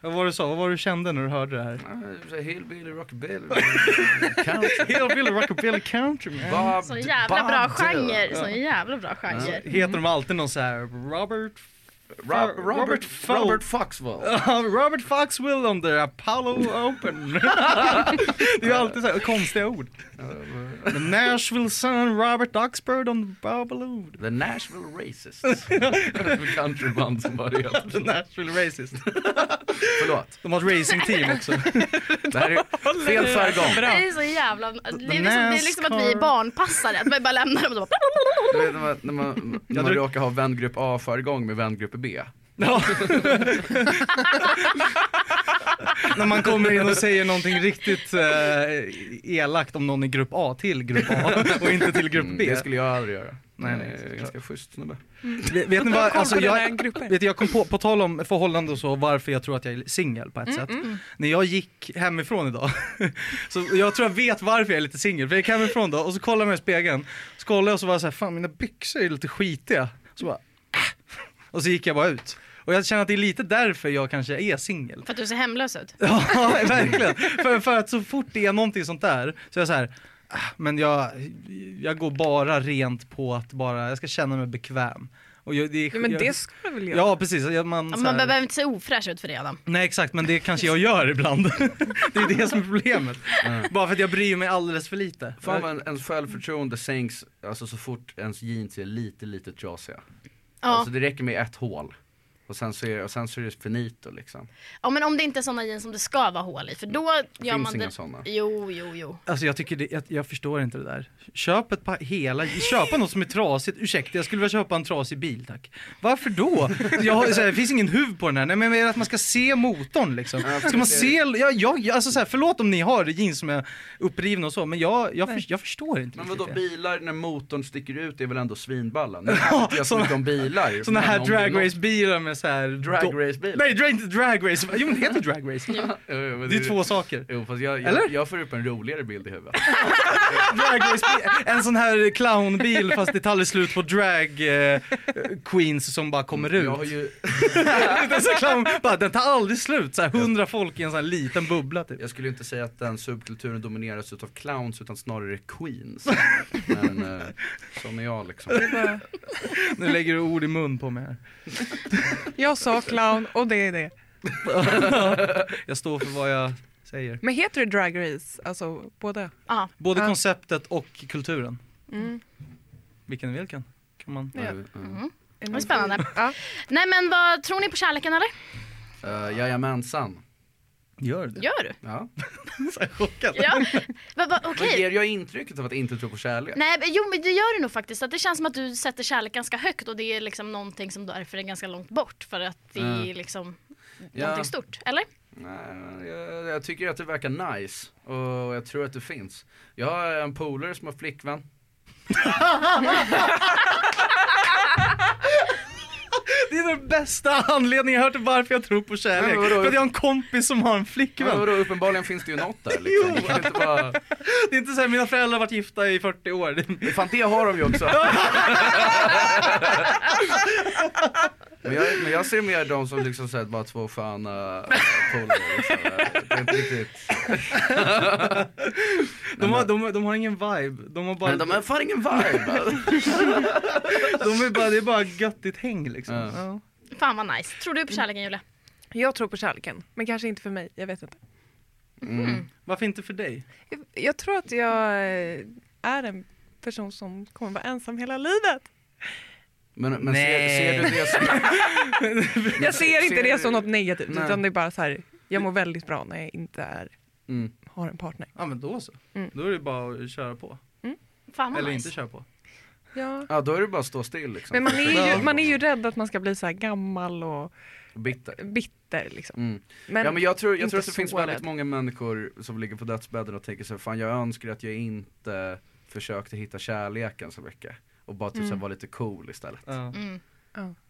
Vad var det du sa? Vad var det du kände när du hörde det här?
Ah, Hillbilly, rockabilly,
[laughs]
Hillbilly rockabilly country man.
Bob,
Sån jävla bra
Bob Dylan.
genre. Sån jävla bra genre.
Heter de alltid någon så här Robert
Rob,
Robert
Robert,
Fo-
Robert Foxwell.
[laughs] Robert Foxwell on the Apollo Open. det är ju alltid så här konstiga ord. The Nashville Sun, Robert Oxford on the Babaloo.
[laughs] The Nashville Racists. [laughs] Ett countryband som bara
The [laughs]
heter
Nashville Racist.
Förlåt.
De har ett racingteam också.
Det här är fel
Det
jargong.
är så jävla... Det är, liksom, det är liksom att vi är barnpassare, att man bara lämnar dem och så bara...
Du vet när man, när man, när man råkar ha vängrupp A jargong med vängrupp B.
Ja. När man kommer in och säger någonting riktigt eh, elakt om någon i grupp A till grupp
[laughs]
A och inte till grupp
Mm,
B.
det skulle jag aldrig göra.
Nej,
Nej,
nej,
nej, jag är ganska schysst snubbe.
Vet, vet ni vad, alltså,
Koll på
jag,
den här gruppen.
vet du, jag kom på, på tal om förhållande och så, varför jag tror att jag är singel på ett
Mm,
sätt. När jag gick hemifrån idag, [laughs] så jag tror jag vet varför jag är lite singel, för jag gick hemifrån då och så kollade jag mig i spegeln, så kollade jag och så var jag så här, fan mina byxor är lite skitiga. Så bara, "Ah." och så gick jag bara ut. Och jag känner att det är lite därför jag kanske är singel.
För att du ser hemlös ut.
[laughs] Ja, verkligen. För, för att så fort det är någonting sånt där så är jag så här, "Ah, men jag, jag går bara rent på att bara, jag ska känna mig bekväm. Och jag, det är,
[laughs] Ja, men
jag,
det ska du väl göra?
Ja, precis. Jag- Man,
Ja,
så
Man
här,
behöver inte se ofräsch ut för det Adam.
Nej, exakt, men det kanske jag gör ibland. [laughs] det är det som är problemet. Bara för att jag bryr mig alldeles för lite.
Fan vad en- ens självförtroende sänks alltså, så fort ens jeans är lite, lite trasiga.
Ja.
Alltså det räcker med ett hål. Och sen så är, och sen så är det finito liksom.
ja men om det inte är såna jeans som det ska vara hål i för då gör
Finns
man
inga
det...
såna.
Jo, jo, jo.
Alltså jag tycker det, jag, jag förstår inte det där. Köp ett par hela, köpa något som är trasigt. Ursäkta, jag skulle vilja köpa en trasig bil tack. Varför då? Jag, har- så här, det finns ingen huv på den här. Nej men jag menar att man ska se motorn liksom. Ska man se, ja, jag, alltså så här, förlåt om ni har jeans som är upprivna och så, men jag, jag, för, jag förstår inte
Men
riktigt
vadå
det.
bilar när motorn sticker ut är väl ändå
[laughs]
svinballa? Nu pratar jag så mycket om bilar.
Såna här
men om det är något-
dragracebilar med så här... do-
Dragracebilar?
Nej, dra, inte dragrace. Jo men det heter
[laughs]
dragrace.
Jo, jo, men
Det är två saker.
Jo fast jag,
Eller?
jag, jag får upp en roligare bild i huvudet.
Dragracebil. En sån här clownbil fast det tar aldrig slut på drag eh, queens som bara kommer ut.
Mm, Jag har ju,
[laughs] Det är så clown, bara, den tar aldrig slut, så här, hundra folk i en sån här liten bubbla typ.
jag skulle ju inte säga att den subkulturen domineras utav clowns utan snarare queens. Men eh, sån är jag liksom.
[laughs]
Nu lägger du ord i mun på mig här.
Jag sa clown och det är det.
Jag står för vad jag säger.
Men heter det drag race? Alltså båda?
Ja.
Både
Ja.
konceptet och kulturen.
Mm.
Vilken är vilken? Kan man...
Ja.
Mm.
Är
Vad
ni-
spännande.
Ja.
Nej men vad, tror ni på kärleken eller?
Eh, jajamensan.
Gör det?
Gör du?
Ja.
Så här chockad.
Ja. Va, va, okej.
Men ger jag intrycket av att inte tro på kärlek?
Nej, men, jo men det gör du nog faktiskt. Att det känns som att du sätter kärlek ganska högt och det är liksom någonting som därför är ganska långt bort för att det
Mm.
är liksom
Ja.
någonting stort. Eller?
Nej, men jag, jag tycker att det verkar nice och jag tror att det finns. Jag har en polare som har flickvän.
Det är den bästa anledningen jag hört till varför jag tror på kärlek.
Nej, men vadå?
För att jag har en kompis som har en
Men
flickvän.
vadå, uppenbarligen finns det ju något där liksom. Det kan inte bara...
Det är inte såhär, mina föräldrar har varit gifta i 40 år. Det-
Fan det har de ju också. men, jag, men jag ser mer de som liksom såhär bara två sköna polare liksom. Det är inte riktigt.
De har, de, har- de har ingen vibe. De har bara...
Men de har fan ingen vibe.
de är bara, det är bara göttigt häng liksom.
Ja.
Ja.
Fan vad nice. Tror du på kärleken Julia?
Jag tror på kärleken, men kanske inte för mig. Jag vet inte.
Mm.
Varför inte för dig?
Jag, jag tror att jag eh, är en person som kommer vara ensam hela livet.
Men, men ser,
Nej.
ser du det som...
Jag ser inte
ser
det
du-
som något negativt,
Nej.
utan det är bara så här, jag mår väldigt bra när jag inte är,
Mm.
har en partner.
Ja men då så.
Mm.
Då är det bara att köra på.
Fan vad
Eller
nice.
inte köra på.
Ja.
Ja då är det bara att stå still liksom.
Men man är,
Ja.
ju, man är ju rädd att man ska bli så här gammal och
Bitter.
bitter. Liksom.
Mm.
Men,
ja men jag tror,
inte
jag tror att det finns
så
väldigt
rädd.
många människor som ligger på dödsbädden och tänker så här, fan jag önskar att jag inte försökte hitta kärleken så mycket. Och bara typ så här, vara lite cool istället.
Ja.
Mm.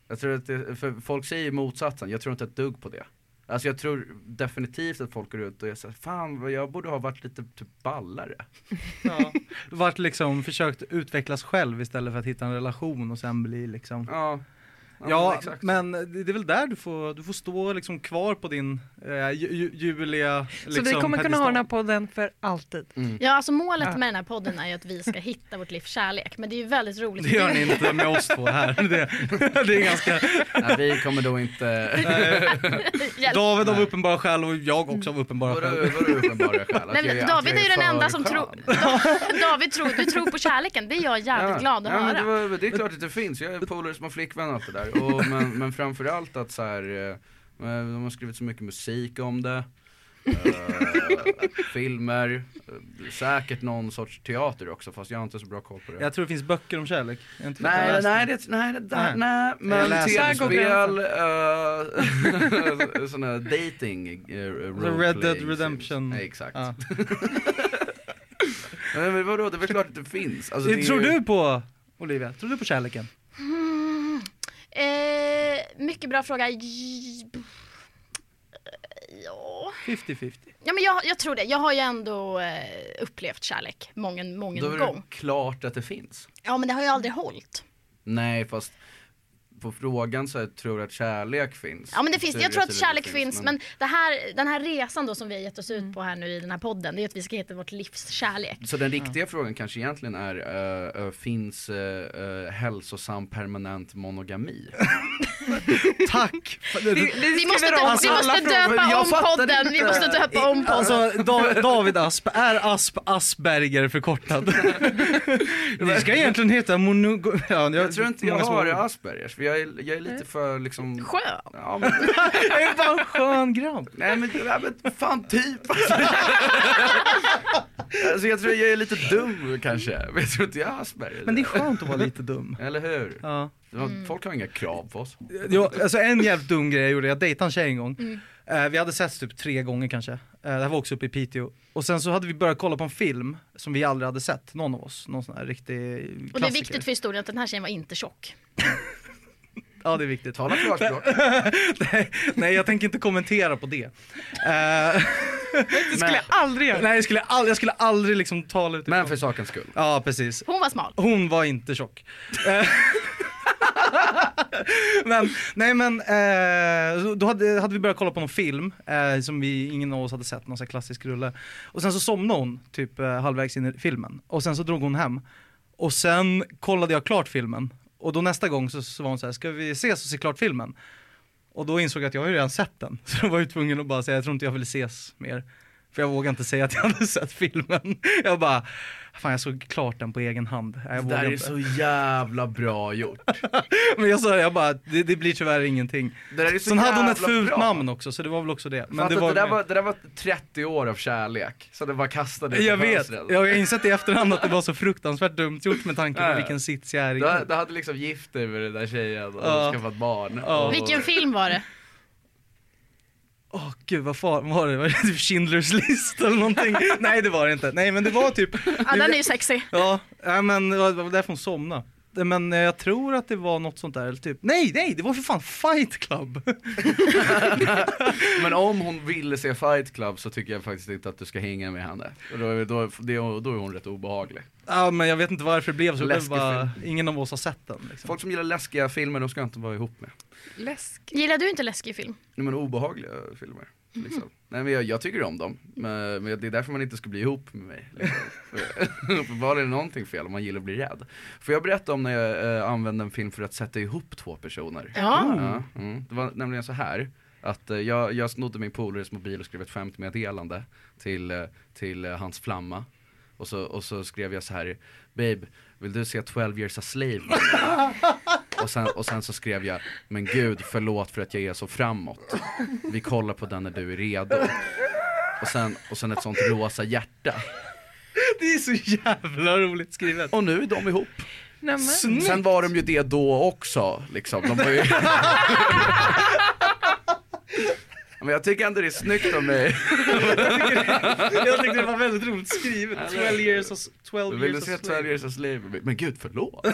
Jag tror att det, för folk säger ju motsatsen, jag tror inte ett dugg på det. Alltså jag tror definitivt att folk går ut och är såhär, fan vad jag borde ha varit lite typ ballare.
[laughs] Ja. Vart liksom försökt utvecklas själv istället för att hitta en relation och sen bli liksom.
Ja.
Ja, men det det är väl där du får, du får stå liksom kvar på din eh, ju, ju, Julia liksom,
så vi kommer kunna ha den här
pedestal.
podden för alltid.
Ja, alltså målet
Ja.
med den här podden är ju att vi ska hitta vårt livs kärlek. Men det är ju väldigt
[laughs]
roligt.
Det gör ni inte med oss två här. [laughs] Det, det
[laughs]
är ganska...
Nej, vi kommer då [laughs] inte...
[laughs] Hjälp.
David av uppenbara skäl och jag också av uppenbara
Vadå
skäl.
vadå uppenbara skäl? Att
Nej,
jag-
men
att
David
jag
är ju den
för
enda som
skön.
tror, [laughs] David tror, du tror på kärleken, det är
[laughs]
jag jävligt
Ja,
glad att
ja, men
höra.
det, var, det är klart att det finns, jag är polare som har flickvän och allt det där.
[laughs]
Och, men, men framförallt att så här, eh, de har skrivit så mycket musik om det. eh, filmer, eh, säkert någon sorts teater också fast jag har inte så bra koll på det.
Jag tror det finns böcker om kärlek. Jag har inte fått
Nej,
läst
nej, det, nej, det där,
Nej.
nej,
Jag
men
läser.
tv-spel, uh, [laughs] sån här dating eh, roleplay
Red Dead
sims.
Redemption.
Nej, exakt.
Ja.
Nej, men vadå, det är väl klart att det finns. Alltså, det är
Tror
ju-
du på, Olivia, tror du på kärleken?
Mm. Eh, mycket bra fråga. J- Ja,
50-50.
[laughs]
ja men jag, jag tror det. Jag har ju ändå eh, upplevt kärlek många, många
Då är det
gång.
klart att det finns.
Ja men det har ju aldrig hållit.
Nej, fast på frågan så här, tror du att kärlek finns?
Ja men det finns,
Tur
jag tror att
det
kärlek finns men det här, den här resan då som vi har gett oss ut på här nu i den här podden det är att vi ska hitta vårt livs kärlek.
Så den riktiga frågan kanske egentligen är, eh, eh, finns uh, hälsosam
[laughs]
permanent monogami?
Tack!
Vi måste,
skriver om
Alltså,
vi måste
alla frågor.
döpa
Jag
om
fattar
podden, vi
inte.
måste döpa om podden.
Alltså Da- David Asp, är Asp Asperger förkortad? Ni ska egentligen heta mono... Ja, jag,
Jag tror inte jag
många små
har
ord.
Aspergers, för jag är, jag är lite för liksom
Skön.
Ja, men,
Jag är bara en skön grabb.
nej men, nej, men fan typ [laughs] Alltså jag tror jag är lite dum kanske, men jag tror inte jag har Asperger
Men det är skönt att vara lite dum.
Eller hur?
Ja.
Det var- Folk har inga krav på oss
Jag, alltså en jävligt dum grej jag gjorde, jag dejtade en tjej en gång. Eh, vi hade sett typ tre gånger kanske. Eh, det här var också uppe i Piteå. Och sen så hade vi börjat kolla på en film som vi aldrig hade sett, någon av oss. Någon sån här riktig klassiker.
Och det är viktigt för historien att den här tjejen var inte tjock.
Ja det är viktigt. [laughs]
Tala klarspråk
Nej, [laughs] nej jag tänker inte kommentera på det. Eh,
Det skulle jag aldrig göra.
nej jag skulle, all, jag skulle aldrig liksom tala utifrån.
Men för sakens skull
Ja precis.
Hon var smal.
Hon var inte tjock. Eh, [laughs] men, nej men, eh, så då hade, hade vi börjat kolla på någon film eh, som vi, ingen av oss hade sett, någon sån här klassisk rulle. Och sen så somnade hon typ eh, halvvägs in i filmen och sen så drog hon hem. Och sen kollade jag klart filmen och då nästa gång så, så var hon så här, ska vi ses och se klart filmen? Och då insåg jag att jag har ju redan sett den, [laughs] så då var jag ju tvungen att bara säga jag tror inte jag vill ses mer. För jag vågar inte säga att jag hade [laughs] sett filmen. Jag bara, fan jag såg klart den på egen hand. Nej, Jag
Det där
vågar
är
inte. [laughs]
så jävla bra gjort
Men jag sa det, jag bara, det, det blir tyvärr ingenting.
Det där är så
Sen hade hon ett
jävla
fult
bra.
namn också, så det var väl också det.
Men
Men
det,
det var,
alltså, det, där var, det där var 30 år av kärlek, så det bara kastade ut
[laughs] jag
i
vet,
fönstret.
jag har insett i efterhand att det var så fruktansvärt dumt gjort med
Ja,
tanke
ja.
på vilken sits jag är i.
Du, hade- du hade liksom gift dig med den där tjejen och
Ja.
skaffat barn
Ja.
och...
Vilken film var det?
Åh gud, vad fan var det? Var det typ Schindler's [laughs] list eller någonting? Nej det var det inte. Nej men det var typ,
Ja, den är ju sexy.
ja, nej, men det var det var därför hon somnade. Men eh, jag tror att det var något sånt där, eller typ, nej nej det var för fan Fight Club! [laughs]
Men om hon ville se Fight Club så tycker jag faktiskt inte att du ska hänga med henne. Och då, är- då, det, då är hon rätt obehaglig.
Ja men jag vet inte varför det blev så, det
Läskig
bara, ingen av oss har sett den. Liksom.
Folk som gillar läskiga filmer, de ska jag inte vara ihop med.
Läsk.
Gillar du inte läskig film?
Nej men obehagliga filmer. Liksom. Nej men jag, jag tycker om dem, men, men det är därför man inte ska bli ihop med mig. Liksom. Uppenbarligen är det någonting fel om man gillar att bli rädd. Får jag berätta om när jag eh, använde en film för att sätta ihop två personer?
Ja.
Ja, mm. Det var nämligen så här att eh, jag, jag snodde min polares mobil och skrev ett skämtmeddelande till, eh, till eh, hans flamma. Och så, och så skrev jag så här, babe, vill du se 12 years a slave? och, sen, och sen så skrev jag, men gud förlåt för att jag är så framåt. Vi kollar på den när du är redo. Och sen, och sen ett sånt rosa hjärta.
[laughs] Det är så jävla roligt skrivet.
Och nu är de ihop.
Nej, men.
Sen var de ju det då också, liksom. De var ju... Men jag tycker ändå det är snyggt av mig.
[laughs] Jag tyckte det var väldigt roligt skrivet. 12 years of, 12
Vill du
years
se
of
12
slave.
years a slave? Men gud, förlåt.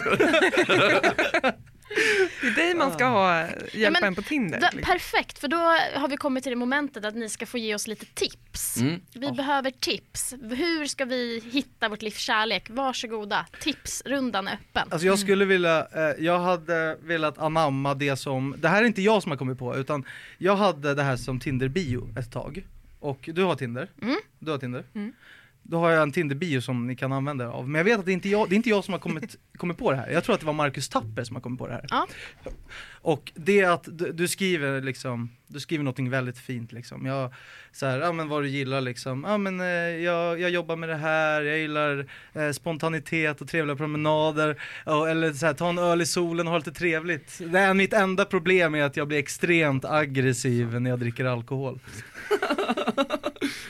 Det är dig man ska ha hjälpa
men
en på Tinder.
Da,
liksom.
perfekt, för då har vi kommit till det momentet att ni ska få ge oss lite tips.
Mm.
Vi behöver tips. Hur ska vi hitta vårt livs kärlek? Varsågoda, tipsrundan är öppen.
Alltså jag skulle vilja, eh, jag hade velat anamma det som, det här är inte jag som har kommit på utan jag hade det här som Tinder-bio ett tag. Och du har Tinder?
Mm.
Du har Tinder?
Mm.
Då har jag en Tinder-bio som ni kan använda er av. Men jag vet att det är inte jag, det är inte jag som har
[laughs]
kommit, kommit på det här. Jag tror att det var Marcus Tapper som har kommit på det här.
Ja.
Och det är att du, du skriver liksom, du skriver någonting väldigt fint liksom. Jag, så här, ja men vad du gillar liksom. Ja men eh, jag, jag jobbar med det här, jag gillar eh, spontanitet och trevliga promenader. Ja, eller så här, ta en öl i solen och ha lite trevligt. Det är mitt enda problem är att jag blir extremt aggressiv när jag dricker
[laughs]
alkohol.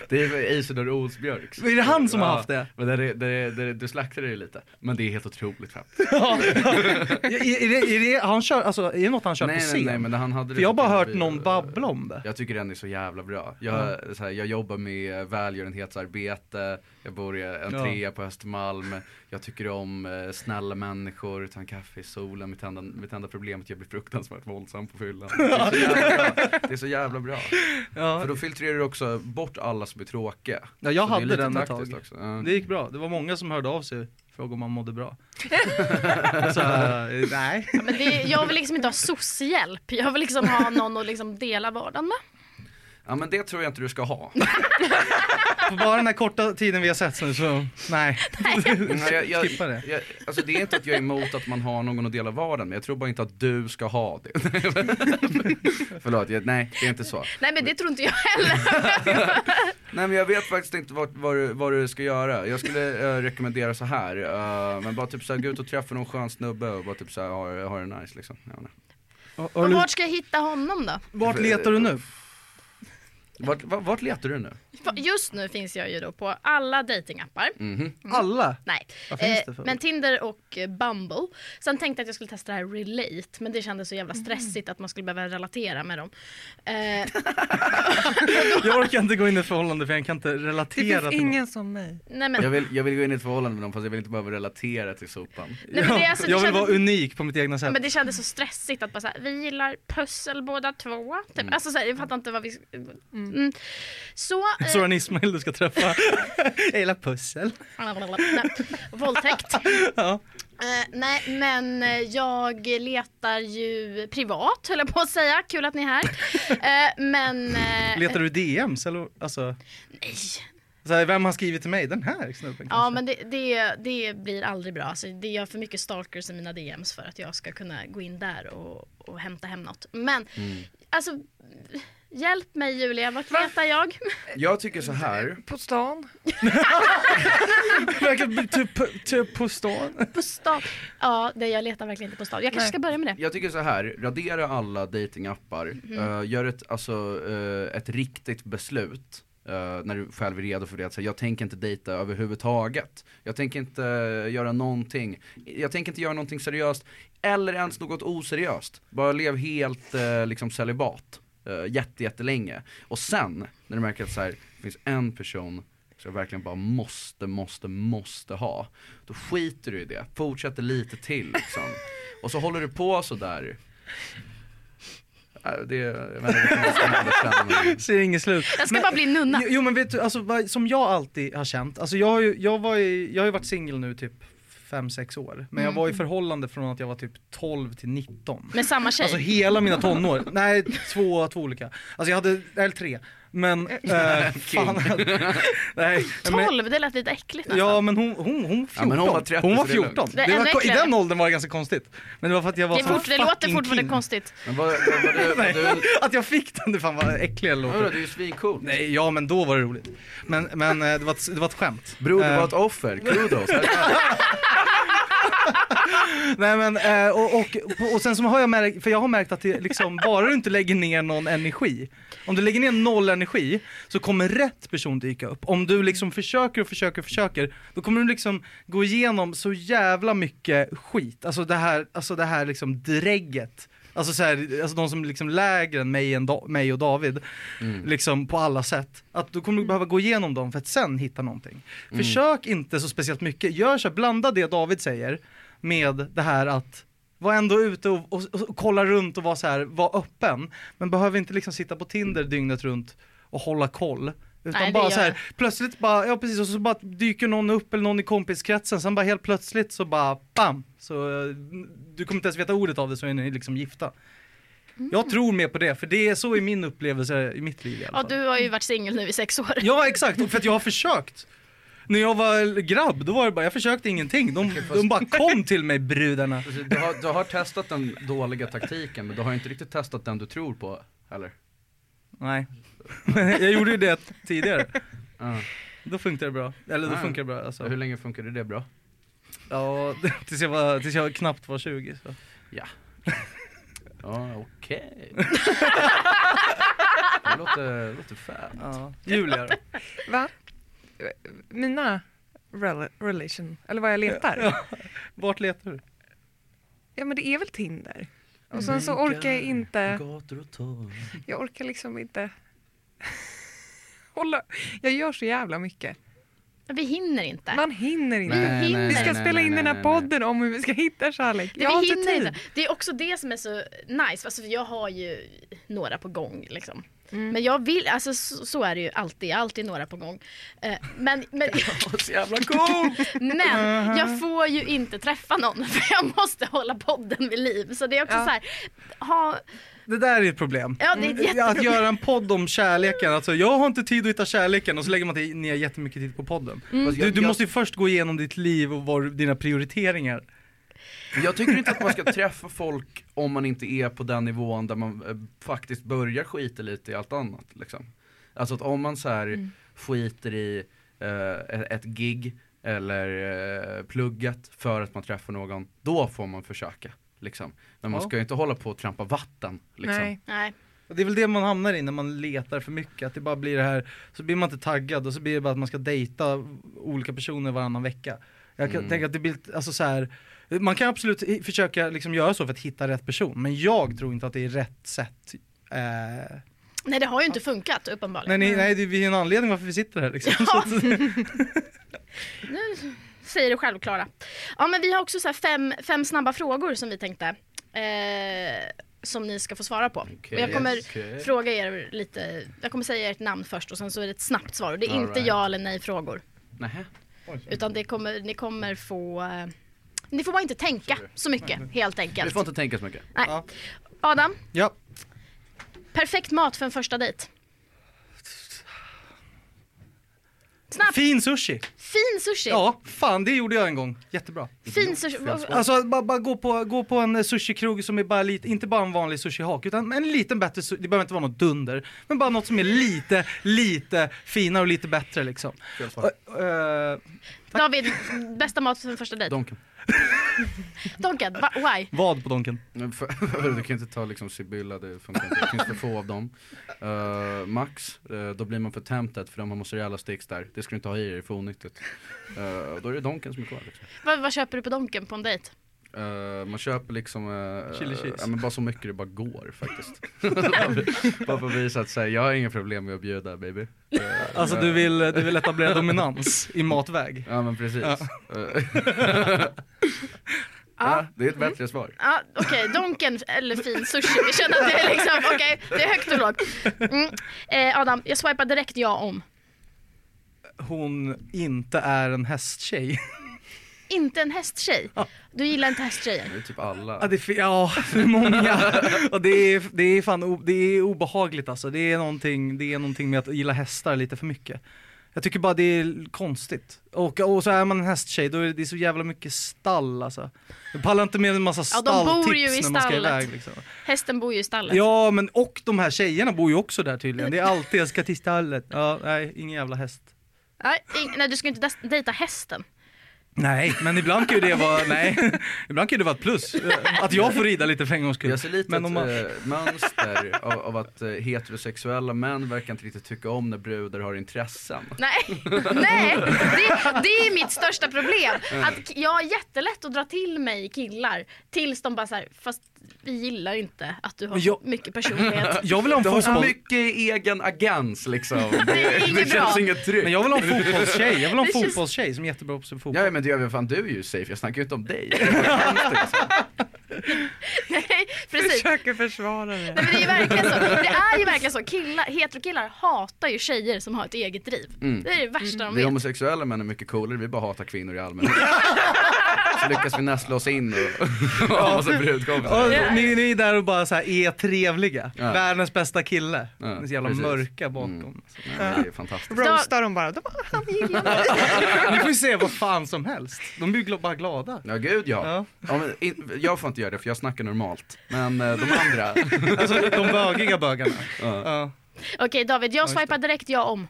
Det är Isidor Olsbjörks.
Är det han som har
Ja,
haft det?
Men där, är- där, är- där, är- du slaktade det lite. Men det är helt otroligt faktiskt.
Ja. är, är det, är det, har han kör, alltså, är det något han kör på
Nej,
scen?
nej, nej, men han hade det
För jag har
på
bara
Tinder
hört
bio.
någon babbla om det.
Jag tycker den är så jävla bra. Jag, så här, jag jobbar med välgörenhetsarbete, jag bor i en
Ja.
trea på Östermalm, jag tycker om eh, snälla människor, ta en kaffe i solen, mitt enda, mitt enda problem är att jag blir fruktansvärt våldsam på fyllan. Det
[laughs]
är så jävla bra. Det är så jävla bra.
Ja.
För då filtrerar du också bort alla som är tråkiga.
Ja, jag
Så det är
hade
lite
den ett
taktiskt
tag.
Också. Ja.
Det gick bra, det var många som hörde av sig frågade om man mådde
[laughs]
bra. så, eh, nej.
Ja, Men det, jag vill liksom inte ha soc-hjälp. Jag vill liksom ha någon att liksom dela vardagen med.
ja men det tror jag inte du ska ha.
På bara den här korta tiden vi har sett nu så, nej. [laughs]
Nej, jag, jag,
Skippa det.
Jag, alltså det är inte att jag är emot att man har någon att dela vardagen med, jag tror bara inte att du ska ha det. [laughs] Förlåt, jag, nej det är inte så.
Nej men det tror inte jag heller.
Nej men jag vet faktiskt inte vad, vad, du, vad du ska göra. Jag skulle eh, rekommendera så här, eh, men bara typ såhär, gå ut och träffa någon skön snubbe och bara typ såhär, ha, ha det nice liksom. Jag vet inte.
Och- och
Men
nu-
vart ska jag hitta honom då?
Vart letar du
Mm.
nu?
Vart, vart, vart letar du nu?
För Just nu finns jag ju då på alla datingappar.
Mhm.
Alla?
Nej, Eh,
Vad finns det för?
men Tinder och eh, Bumble. Sen tänkte jag att jag skulle testa det här Relate, men det kändes så jävla stressigt att man skulle behöva relatera med dem.
[laughs]
Eh,
Jag orkar inte gå in i ett förhållande för jag kan inte
Det
relatera
finns
till någon.
ingen som mig.
nej men,
Jag vill, jag vill gå in i ett förhållande med dem fast jag vill inte behöva relatera till sopan.
nej, men det, är alltså, det
jag vill
kändes-
vara unik på mitt egna sätt.
Men det kändes så stressigt att bara såhär, vi gillar pussel båda två. Typ.
Mm.
Alltså såhär, jag fattar inte vad vi... Mm. Så... eh,
Soran Ismail du ska
[laughs]
träffa. jag gillar pussel.
nej, [laughs] Våldtäkt.
[laughs] Ja.
Eh, nej men eh, jag letar ju privat höll jag på att säga, kul att ni är
[laughs]
här. Eh, men... eh,
Letar du DMs eller? Alltså,
nej.
så här, vem har skrivit till mig? Den här snubben kanske?
Ja men det, det, det blir aldrig bra. Alltså, det gör för mycket stalkers i mina DMs för att jag ska kunna gå in där och, och hämta hem något. Men
Mm.
alltså, hjälp mig Julia, vart letar jag? [laughs]
Jag tycker så här.
På stan.
[laughs] Verkar typ, typ på stan. [laughs]
På stan. Ja, det jag letar verkligen inte på stan. Jag kanske
Nej.
ska börja med det.
Jag tycker så här, radera alla datingappar. Eh, gör ett, alltså, eh, ett riktigt beslut. eh, när du själv är redo för det, att säga, jag tänker inte dejta överhuvudtaget. Jag tänker inte eh, göra någonting. Jag tänker inte göra någonting seriöst, eller ens något oseriöst. Bara lev helt eh, liksom celibat, uh, jätte, jättelänge. Och sen, när du märker att så här, det finns en person som jag verkligen bara måste, måste, måste ha. Då skiter du i det, fortsätter lite till liksom. Och så håller du på sådär. Äh, Det, jag vet inte vad som händer sen.
Ser inget slut.
Jag ska bara bli nunna.
Jo, jo men vet du, alltså, vad, som jag alltid har känt, alltså, jag, har ju- jag, var ju, jag har ju varit singel nu typ 5-6 år, men
Mm.
jag var i förhållande från att jag var typ 12 till 19.
Med samma tjej.
Alltså hela mina tonår, nej två, två olika. Alltså jag hade, eller tre. Men, eh,
[laughs]
fan. nej, men,
12, det lät lite äckligt nästan.
Ja men hon, hon, hon, 14.
Ja, men hon var 30,
hon var
så det är lugnt.
14.
Det är
Det
ännu
var, I
äckligare.
den åldern var det ganska konstigt. Men det var för att jag var
det, är
så
fort, det låter
fucking
fortfarande
king.
konstigt.
Men vad, vad, vad, du- vad, du-
Att jag fick den, det fan vad äcklig den
vadå,
låter.
det är ju svincoolt.
Nej, ja men då var det roligt. Men, men eh, det, var ett, det var ett skämt.
Bror
Eh,
du var ett offer, kudos.
Nej men, eh, och, och, och sen så har jag märkt, för jag har märkt att det liksom, bara du inte lägger ner någon energi, om du lägger ner noll energi så kommer rätt person dyka upp. Om du liksom försöker och försöker och försöker, då kommer du liksom gå igenom så jävla mycket skit. Alltså det här, alltså det här liksom drägget. Alltså, så här, alltså de som liksom lägre än mig, än da- mig och David, liksom på alla sätt. Att då kommer du behöva gå igenom dem för att sen hitta någonting. Försök inte så speciellt mycket, gör så här, blanda det David säger med det här att Var ändå ute och, och, och kolla runt och var så här, var öppen. Men behöver inte liksom sitta på Tinder dygnet runt och hålla koll. Utan
Nej, det
bara
gör
så här,
jag.
plötsligt bara, ja precis, och så bara dyker någon upp eller någon i kompiskretsen, sen bara helt plötsligt så bara bam! Så eh, du kommer inte ens veta ordet av det så är ni liksom gifta. Jag tror mer på det, för det är så i min upplevelse i mitt liv i alla
Mm. Ja,
fall.
du har ju varit singel nu i sex år.
Ja exakt, för att jag har försökt. När jag var grabb, då var det bara, jag försökte ingenting. De,
fast-
de bara kom till mig brudarna.
Precis, Du har, du har testat den dåliga taktiken men du har inte riktigt testat den du tror på heller.
Nej. [laughs] jag gjorde ju det tidigare.
Ja.
Då funkar det bra. Eller då
Ah.
funkar det bra alltså.
Så hur länge funkade det bra?
Ja, [laughs] tills jag, var, tills jag knappt var 20 så.
Ja, okej. det låter, det låter fan.
Ja. Julia då?
Va? Mina rel- relation, eller vad jag letar? Ja,
Ja. Vart letar du?
men det är väl Tinder.
Oh
Och sen så orkar jag inte,
Gator och torg.
jag orkar liksom inte [laughs] hålla, jag gör så jävla mycket.
Vi hinner inte.
Man hinner inte.
Nej, hinner.
Vi ska
nej,
spela
nej,
in
nej,
den här
nej, nej.
podden om hur vi ska hitta kärlek.
Det,
Jag har
vi
inte
hinner
tid.
inte. det är också det som är så nice, alltså, för jag har ju några på gång. Liksom.
Mm.
Men jag vill, alltså, så, så är det ju alltid, jag har alltid några på gång. Eh, men,
[laughs]
men,
Så jävla coolt!
men jag får ju inte träffa någon [laughs] för jag måste hålla podden vid liv. Så det är också
Ja.
så här, ha,
Det där är ett problem.
ja det är ett
Att
jätteproblem.
göra en podd om kärleken, alltså jag har inte tid att hitta kärleken och så lägger man till- ner jättemycket tid på podden.
Mm.
Mm. Du, du måste ju först gå igenom ditt liv och var, dina prioriteringar.
Jag tycker inte att man ska träffa folk om man inte är på den nivån där man eh, faktiskt börjar skita lite i allt annat. Liksom. Alltså att om man så här
Mm.
skiter i eh, ett gig eller eh, plugget för att man träffar någon, då får man försöka. Liksom. Men man
Ja.
ska ju inte hålla på och trampa vatten. Liksom.
Nej.
Nej.
Och Det är väl det man hamnar i när man letar för mycket, att det bara blir det här, så blir man inte taggad och så blir det bara att man ska dejta olika personer varannan vecka. Jag kan
Mm.
tänka att det blir, alltså så här, man kan absolut i- försöka liksom göra så för att hitta rätt person, men jag tror inte att det är rätt sätt. Eh,
Nej det har ju inte funkat uppenbarligen.
nej, nej, nej, det är ju en anledning varför vi sitter här liksom.
Ja.
Så att-
Säger du själv Klara. Ja men vi har också så här fem, fem snabba frågor som vi tänkte. Eh, som ni ska få svara på.
Okej,
och jag kommer
okej.
fråga er lite, jag kommer säga ert namn först och sen så är det ett snabbt svar. Och det är
All
inte
right.
ja eller nej frågor.
Nähä.
Utan det kommer, ni kommer få, eh, ni får bara inte tänka så mycket helt
Du
enkelt.
får inte tänka så mycket.
Nej.
Ja.
Adam,
[laughs] ja.
perfekt mat för en första dejt. Snabbt,
Fin sushi!
fin sushi.
Ja, fan det gjorde jag en gång, jättebra.
Fin sushi.
Alltså bara, bara gå, på, gå på en eh, sushikrog som är bara lite, inte bara en vanlig sushihak utan en liten bättre, su- det behöver inte vara något dunder, men bara något som är lite, lite finare och lite bättre liksom. Ö- ö,
David, bästa mat för en första dejt.
Donken.
Donken, va- why?
vad på donken?
Men för- [laughs] Du kan inte ta liksom Sibylla, det funkar inte. Det finns för få av dem. Eh, Max, eh, då blir man för tempted för de har mozzarella sticks där. Det ska du inte ha i dig, det är för onyttigt. Eh, då är det Donken som är kvar. Liksom.
Vad, vad köper du på Donken på en dejt?
Eh, man köper liksom, eh,
Chili cheese.
eh, ja, men bara så mycket det bara går
[laughs]
faktiskt. Bara för- bara för att visa att säga, jag har inga problem med att bjuda baby. Eh,
Alltså
eh,
du vill, du vill etablera dominans i matväg.
Ja men precis.
Ja.
Eh, [laughs] ja, det är ett bättre svar.
Ja, okej, Donken eller fin sushi. Vi känner att det är liksom, okej, det är högt och lågt. Mm. Eh, Adam, jag swipar direkt ja om.
Hon inte är en hästtjej.
Inte en hästtjej. Du gillar inte hästtjejer.
Det är typ
Ja,
alla.
det är för, ja, [laughs] för många. Och det är, det är fan o, det är obehagligt alltså. Det är, någonting, det är någonting med att gilla hästar lite för mycket. Jag tycker bara det är konstigt. Och, och så är man en hästtjej, då är det, det är så jävla mycket stall alltså. Jag pallar inte med en massa
Ja, de bor ju
stalltips när
i
man ska
stallet.
iväg liksom.
Hästen bor ju i stallet.
Ja, men och de här tjejerna bor ju också där tydligen. Det är alltid jag ska till stallet. Ja, nej, ingen jävla häst.
Nej, ing- nej, du ska inte des- dejta hästen.
Nej, men ibland kan ju det vara, nej, ibland kan ju det vara ett plus. Eh, Att jag får rida lite för en gångs skull.
Jag ser lite
Men om man-
ett eh, mönster av, av att eh, heterosexuella män verkar inte riktigt tycka om när brudar har intressen.
Nej, [laughs] nej det, det är mitt största problem. Att k- jag har jättelätt att dra till mig killar tills de bara så här, fast vi gillar inte att du har
Men jag-
så
[laughs]
mycket personlighet.
Jag vill ha en
Du har så
fotboll.
mycket egen
[laughs]
agens liksom.
Det är inget
det känns
bra. [laughs]
inget tryck.
Men jag vill ha en fotbollstjej, jag vill ha en
Det känns-
fotbollstjej som är jättebra på fotboll. [laughs]
Ja men det gör vi, fan du är ju safe, jag snackar ju inte om dig. Det är konstigt, alltså.
försöker försvara det.
Nej, men det är ju verkligen så. Det är ju verkligen så. Killar, heterokillar hatar ju tjejer som har ett eget driv.
Mm.
Det är det värsta de
Vi
vet.
homosexuella män är mycket coolare, vi bara hatar kvinnor
[laughs]
i allmänhet. Så lyckas vi nästla oss in
[laughs]
och ha massa brudkompisar.
Ja, ni, ni är där och bara så här, är trevliga.
Ja.
Världens bästa kille.
Ja,
Ni är så jävla
precis.
mörka bakom.
Mm. Nej, Det är fantastiskt.
Roastar dem bara. De bara han gillar mig.
Ni får ju se vad fan som helst. De blir ju gl- bara glada.
Ja gud ja.
Ja.
ja. men in, jag får inte göra det för jag snackar normalt. Men eh, de andra.
Alltså de bögiga bögarna.
ja.
Ja.
Okej David, jag
just det.
swipar direkt jag om.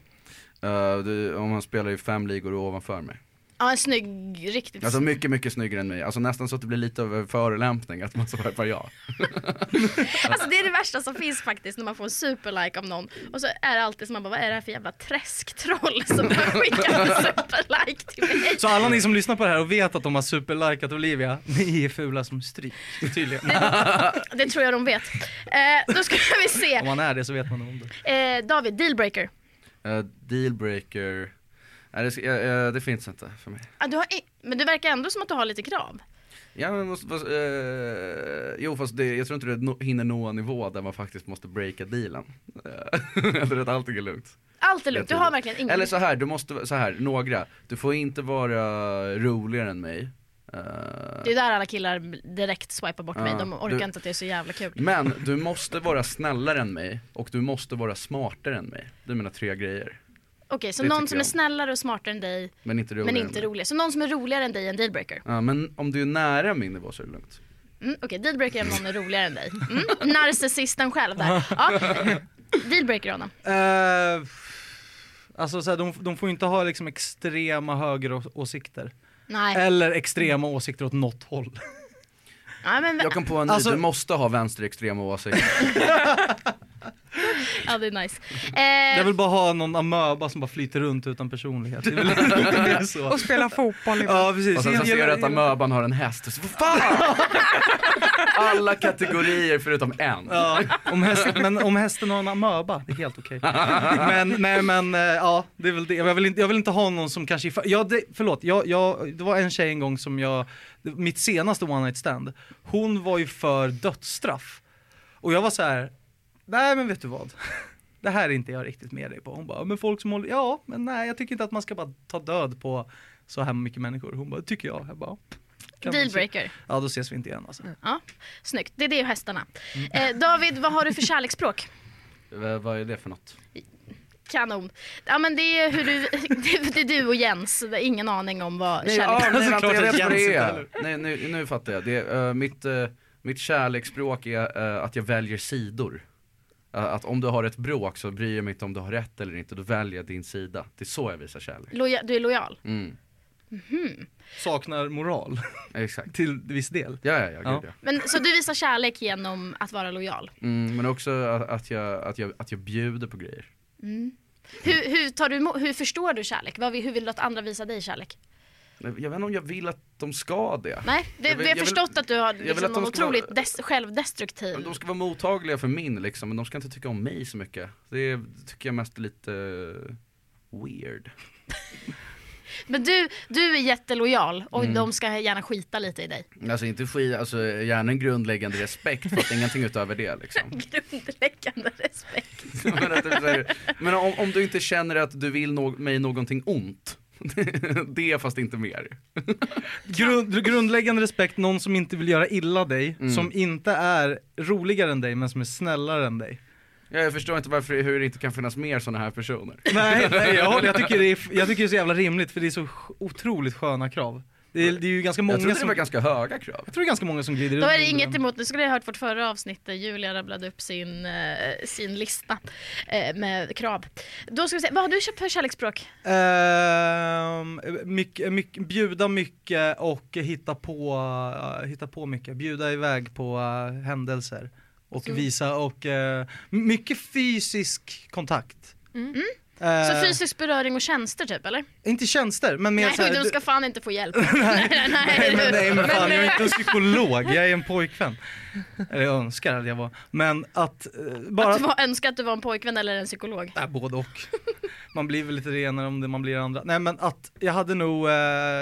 Eh, du, om han spelar i fem ligor och ovanför mig.
Ja, en snygg, riktigt
Alltså mycket, mycket snyggare än mig. Alltså nästan så att det blir lite av en förolämpning att man svarar ja.
[laughs] Alltså det är det värsta som finns faktiskt när man får en superlike av någon och så är det alltid som man bara vad är det här för jävla träsktroll [laughs] som har skickat en superlike till mig.
Så alla ni som lyssnar på det här och vet att de har superlikat Olivia, ni är fula som stryk. Tydligen.
[laughs] Det tror jag de vet. Eh, då ska [laughs] vi
Om
se.
man är det så vet man om det.
Eh, David, dealbreaker.
Eh, dealbreaker. Nej det, ska- eh, eh, det finns inte för mig.
Ah, du har i- men du verkar ändå som att du har lite krav.
Ja, men måste, fast, eh, jo fast det, jag tror inte det nå- hinner nå en nivå där man faktiskt måste breaka dealen. Eh, [laughs] Eller att allting är lugnt.
Allt är lugnt, du har verkligen ingen...
Eller så här, du måste, så här, några. Du får inte vara roligare än mig. Eh,
Det är där alla killar direkt swipar bort mig,
Ja,
de orkar
du- Mm.
inte att det är så jävla kul.
Men du måste vara snällare än mig och du måste vara smartare än mig. Det är mina tre grejer.
Okej, så
det
någon
tycker
som
jag
är
om.
snällare och smartare än dig,
Men inte roligare
men
än
inte
mig.
roligare. Så någon som är roligare än dig är en dealbreaker.
Ja, men om du är nära min nivå så är det lugnt.
Mm, Okej, dealbreaker är om någon är roligare än dig. Mm, narcissisten själv
[laughs]
där. Ja. Dealbreaker honom.
Eh, alltså så här, de, de får ju inte ha liksom extrema högeråsikter.
Nej,
Eh,
Eller extrema åsikter åt något håll.
ja, men,
Jag kom på en ny,
Alltså-
du måste ha
[laughs]
vänsterextrema åsikter.
ja, det är
[laughs]
nice.
Jag
Eh,
vill bara ha någon amöba som bara flyter runt utan personlighet. Det är väl- det är
[laughs]
så.
Och spela fotboll. ibland.
[laughs] Ja precis.
Och sen så
Hela-
ser du att
hela-
amöban har en häst, så
[laughs]
vad fan! Alla kategorier förutom en.
Ja, [laughs] om hästen, men om hästen har en amöba, det är helt okej. Men, nej men, eh, ja det är väl det. Jag vill inte, jag vill inte ha någon som kanske, är för- ja, det, förlåt, jag, jag, det var en tjej en gång som jag, mitt senaste one night stand, hon var ju för dödsstraff. Och jag var så här, nej men vet du vad? [laughs] Det här är inte jag riktigt med dig på. Hon bara, men folk som håller, ja men nej jag tycker inte att man ska bara ta död på så här mycket människor. Hon bara, tycker jag. Jag bara, kan vi se-
dealbreaker.
Ja då ses vi inte igen alltså.
Ja, snyggt, det är det och hästarna.
Mm.
Eh, David, vad har du för kärleksspråk?
V- vad är det för något?
Kanon. Ja men det är, hur du, [laughs] det- det är du och Jens, Det är ingen aning om vad
Nej, ja,
kärleks...
nej,
Såklart
vänta, jag
att
vet vad
Jens
det
inte
är.
heller.
Nej, nu, nu fattar jag. Det är, eh, mitt, eh, mitt kärleksspråk är eh, att jag väljer sidor. Eh, att om du har ett bråk så bryr jag mig inte om du har rätt eller inte, då väljer jag din sida. Det är så jag visar kärlek.
Loja, du är lojal.
Mm,
Saknar moral. [laughs]
exakt.
Till viss del.
Ja, ja, ja, gud,
Ja.
ja.
Men, så du visar kärlek genom att vara lojal.
Mm, men också att, att, jag, att, jag, att jag bjuder på grejer.
Hur, hur, tar du, emo- hur förstår du kärlek? Vad, vill- hur vill du att andra visar dig kärlek?
Jag vet inte om jag vill att de ska det.
Nej, det,
Jag
vi
vill-
har
jag vill-
förstått att du har
vill
liksom
att de
någon
ska vara-
otroligt des, självdestruktiv.
Men De ska vara mottagliga för min liksom, men de ska inte tycka om mig så mycket. Det tycker jag mest är lite eh, weird.
Men du, du är jättelojal och de ska gärna skita lite i dig.
Alltså inte skit, alltså gärna en grundläggande respekt för att ingenting utöver det liksom.
Grundläggande respekt.
[laughs] men att, det är så här- men om, om du inte känner att du vill nå- mig någonting ont. [laughs] det fast inte mer.
Grund, grundläggande respekt, någon som inte vill göra illa dig,
Mm.
som inte är roligare än dig men som är snällare än dig.
Ja, jag förstår inte varför, hur det inte kan finnas mer sådana här personer.
[laughs] Nej, nej jag, håller- jag, tycker det är, f- jag tycker det är så jävla rimligt för det är så sj- otroligt sköna krav. Det är, det är ju ganska många
Jag trodde det
som,
var ganska höga krav.
jag tror det är ganska många som glider
Då är
under
det inget
den.
emot, nu skulle jag ha hört vårt förra avsnitt där Julia rabblade upp sin, eh, sin lista eh, med krav. Då ska vi se, vad har du köpt för kärleksspråk?
Ehm, mycket, mycket, bjuda mycket och hitta på, eh, hitta på mycket, bjuda iväg på eh, händelser och visa och eh, mycket fysisk kontakt.
Mm.
Eh,
Så fysisk beröring och tjänster typ eller?
inte tjänster, men mer
Nej,
så här,
du
du-
ska fan inte
[laughs]
få hjälp. nej, nej,
Nej men, nej, men fan,
Men,
jag är
eh,
inte en psykolog, jag är en pojkvän. Eller jag önskar att jag var. Men att eh, bara...
Att
[laughs]
du var, önska att du var en pojkvän eller en psykolog.
Nej, både och. Man blir väl lite renare om det man blir andra. Nej men att jag hade nog, eh,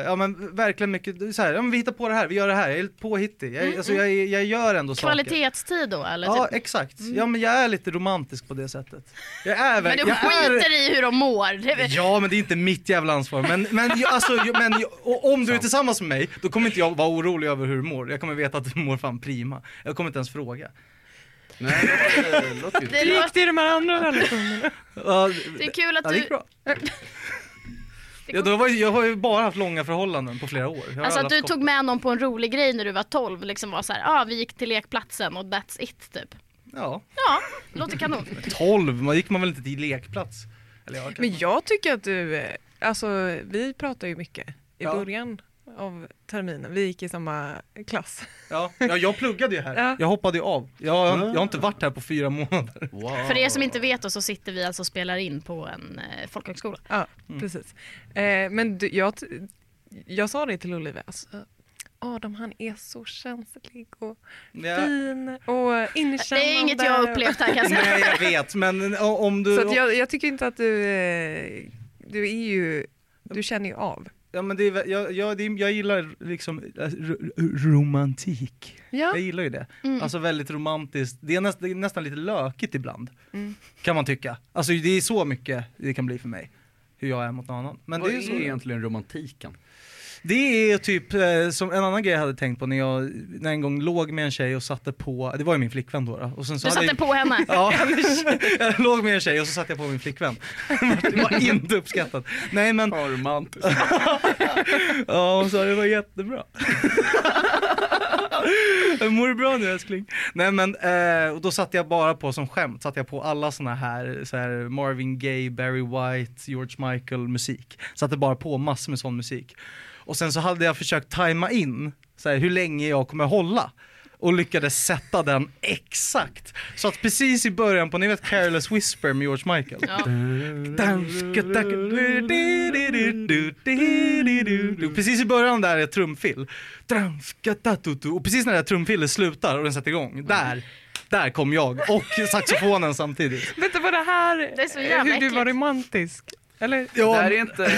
ja men verkligen mycket så här, ja, men vi hittar på det här, vi gör det här, jag är lite påhittig.
Mm,
Jag, alltså, jag, är- jag gör ändå saker.
Kvalitetstid då eller?
Ja
typ.
exakt, ja men jag är lite romantisk på det sättet. Jag är
Men du
verkligen, jag är-
skiter i hur de mår. Det är-
Ja men det är inte mitt jävla ansvar. Men, men, ju- alltså, ju- men ju- och om du är tillsammans med mig, då kommer inte jag vara orolig över hur du mår. Jag kommer veta att du mår fan prima. Jag kommer inte ens fråga.
Nej, det låter- det
[laughs]
låter ju...
Det,
Hur
lå-
gick det i de här andra relationerna?
Ja,
det är kul att
ja, det gick
du,
bra. Ja, då var, ju- jag har ju bara haft långa förhållanden på flera år. Jag har
alltså att
aldrig
du
haft
tog med någon på en rolig grej när du var 12. Liksom var så här, ah, vi gick till lekplatsen och that's it typ.
kort- Ja,
Ja, låter kanon.
12, man gick man väl inte till lekplats? Eller jag
Men jag tycker att du, eh, alltså vi pratade ju mycket i
Ja.
början av terminen. Vi gick i samma klass.
Ja, ja, jag pluggade ju här.
Ja.
Jag hoppade ju av. Jag, jag har inte varit här på fyra månader.
Wow.
För er som inte vet då, så sitter vi alltså och spelar in på en eh, folkhögskola.
Ja, precis. Eh, men du, jag, t- jag sa det till Olivia, alltså, Adam han är så känslig och
Ja.
fin och inkännande.
Det är inget jag har upplevt här kan jag säga.
Nej jag vet, men o- om du...
Så att jag, jag tycker inte att du, eh, du är ju, du känner ju av.
Ja, men det är, vä- jag, jag, det är, jag gillar liksom eh, r- r- romantik.
Ja.
Jag gillar ju det.
Mm.
Alltså väldigt romantiskt. Det är, näst, det är nästan lite lökigt ibland.
Mm.
Kan man tycka. Alltså det är så mycket det kan bli för mig. Hur jag är mot någon annan. Men
Vad
det är,
är
så,
egentligen romantiken?
det är typ eh, som en annan grej jag hade tänkt på när jag, när jag en gång låg med en tjej och satte på, det var ju min flickvän då. då. Och sen så
Du
hade
satte
jag, [laughs]
på henne. [laughs]
Ja, jag låg med en tjej och så satte jag på min flickvän. [laughs] Det var inte uppskattat. Nej men,
Vad romantiskt.
Ja hon sa det var jättebra. [laughs] Mår du bra nu älskling? Nej men, eh, och då satte jag bara på som skämt, satte jag på alla såna här, så här Marvin Gaye, Barry White, George Michael musik. Satte bara på massor med sån musik. Och sen så hade jag försökt tajma in så här, hur länge jag kommer hålla. Och lyckades sätta den exakt. Så att precis i början på, ni vet Careless Whisper med George Michael.
Ja.
Precis i början där är ett trumfill. Och precis när det här trumfillet slutar och den sätter igång, där, där kom jag och saxofonen samtidigt.
Vänta var det här
[laughs] Det är så
eh,
jävla
hur du var
äckligt.
romantisk? Eller?
Det
Ja,
här är inte...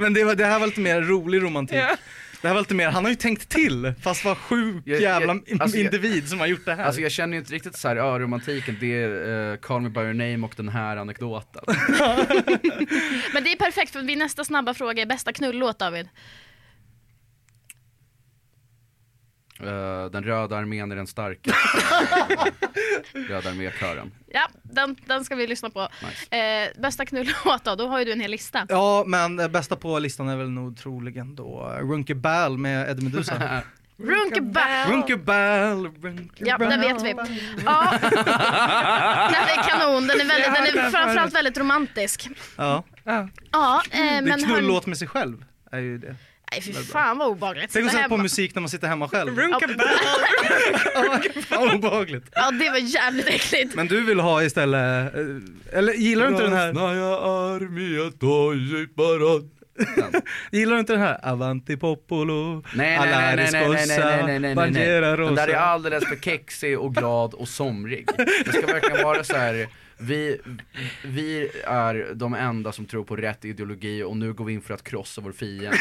men det, var, det här var lite mer rolig romantik.
Ja.
Det här var lite mer, han har ju tänkt till fast vad sjuk
Jag- jag-
jävla
alltså, jag-
individ som har gjort det här.
Alltså jag känner ju inte riktigt så här, ja romantiken det är eh, Call Me By Your Name och den här anekdoten.
Men det är perfekt för min nästa snabba fråga är bästa knullåt David.
Eh, den röda armén är
[laughs]
den starka. röda armékören.
Ja, den, den ska vi lyssna på.
Nice.
Eh, bästa knullåt då, då har ju du en hel lista.
Ja men eh, bästa på listan är väl nog troligen då Runke Ball med Eddie Meduza.
Runkeball!
Runke Ball, Runke
Ja,
Ball.
den vet vi. Ja. [laughs] Den är kanon, den är, väldigt, den är framförallt väldigt romantisk.
Ja.
Ja.
Ja, eh,
Det är
men
knullåt med sig själv. Är ju det.
Nej fy fan vad obehagligt.
Tänk att sätta på
Hemma.
musik när man sitter hemma själv.
Runkabell!
[laughs] Fan obehagligt.
Ja det var jävligt äckligt.
Men du vill ha istället, eh, eller gillar du inte den här? [laughs] Gillar du inte den här? Avanti popolo,
Nej nej nej nej nej nej nej nej nej nej nej
bandiera
nej.
rosa.
Den där är alldeles för kexig och glad och somrig. Det ska verkligen vara så här. Vi, vi är de enda som tror på rätt ideologi och nu går vi in för att krossa vår fiende.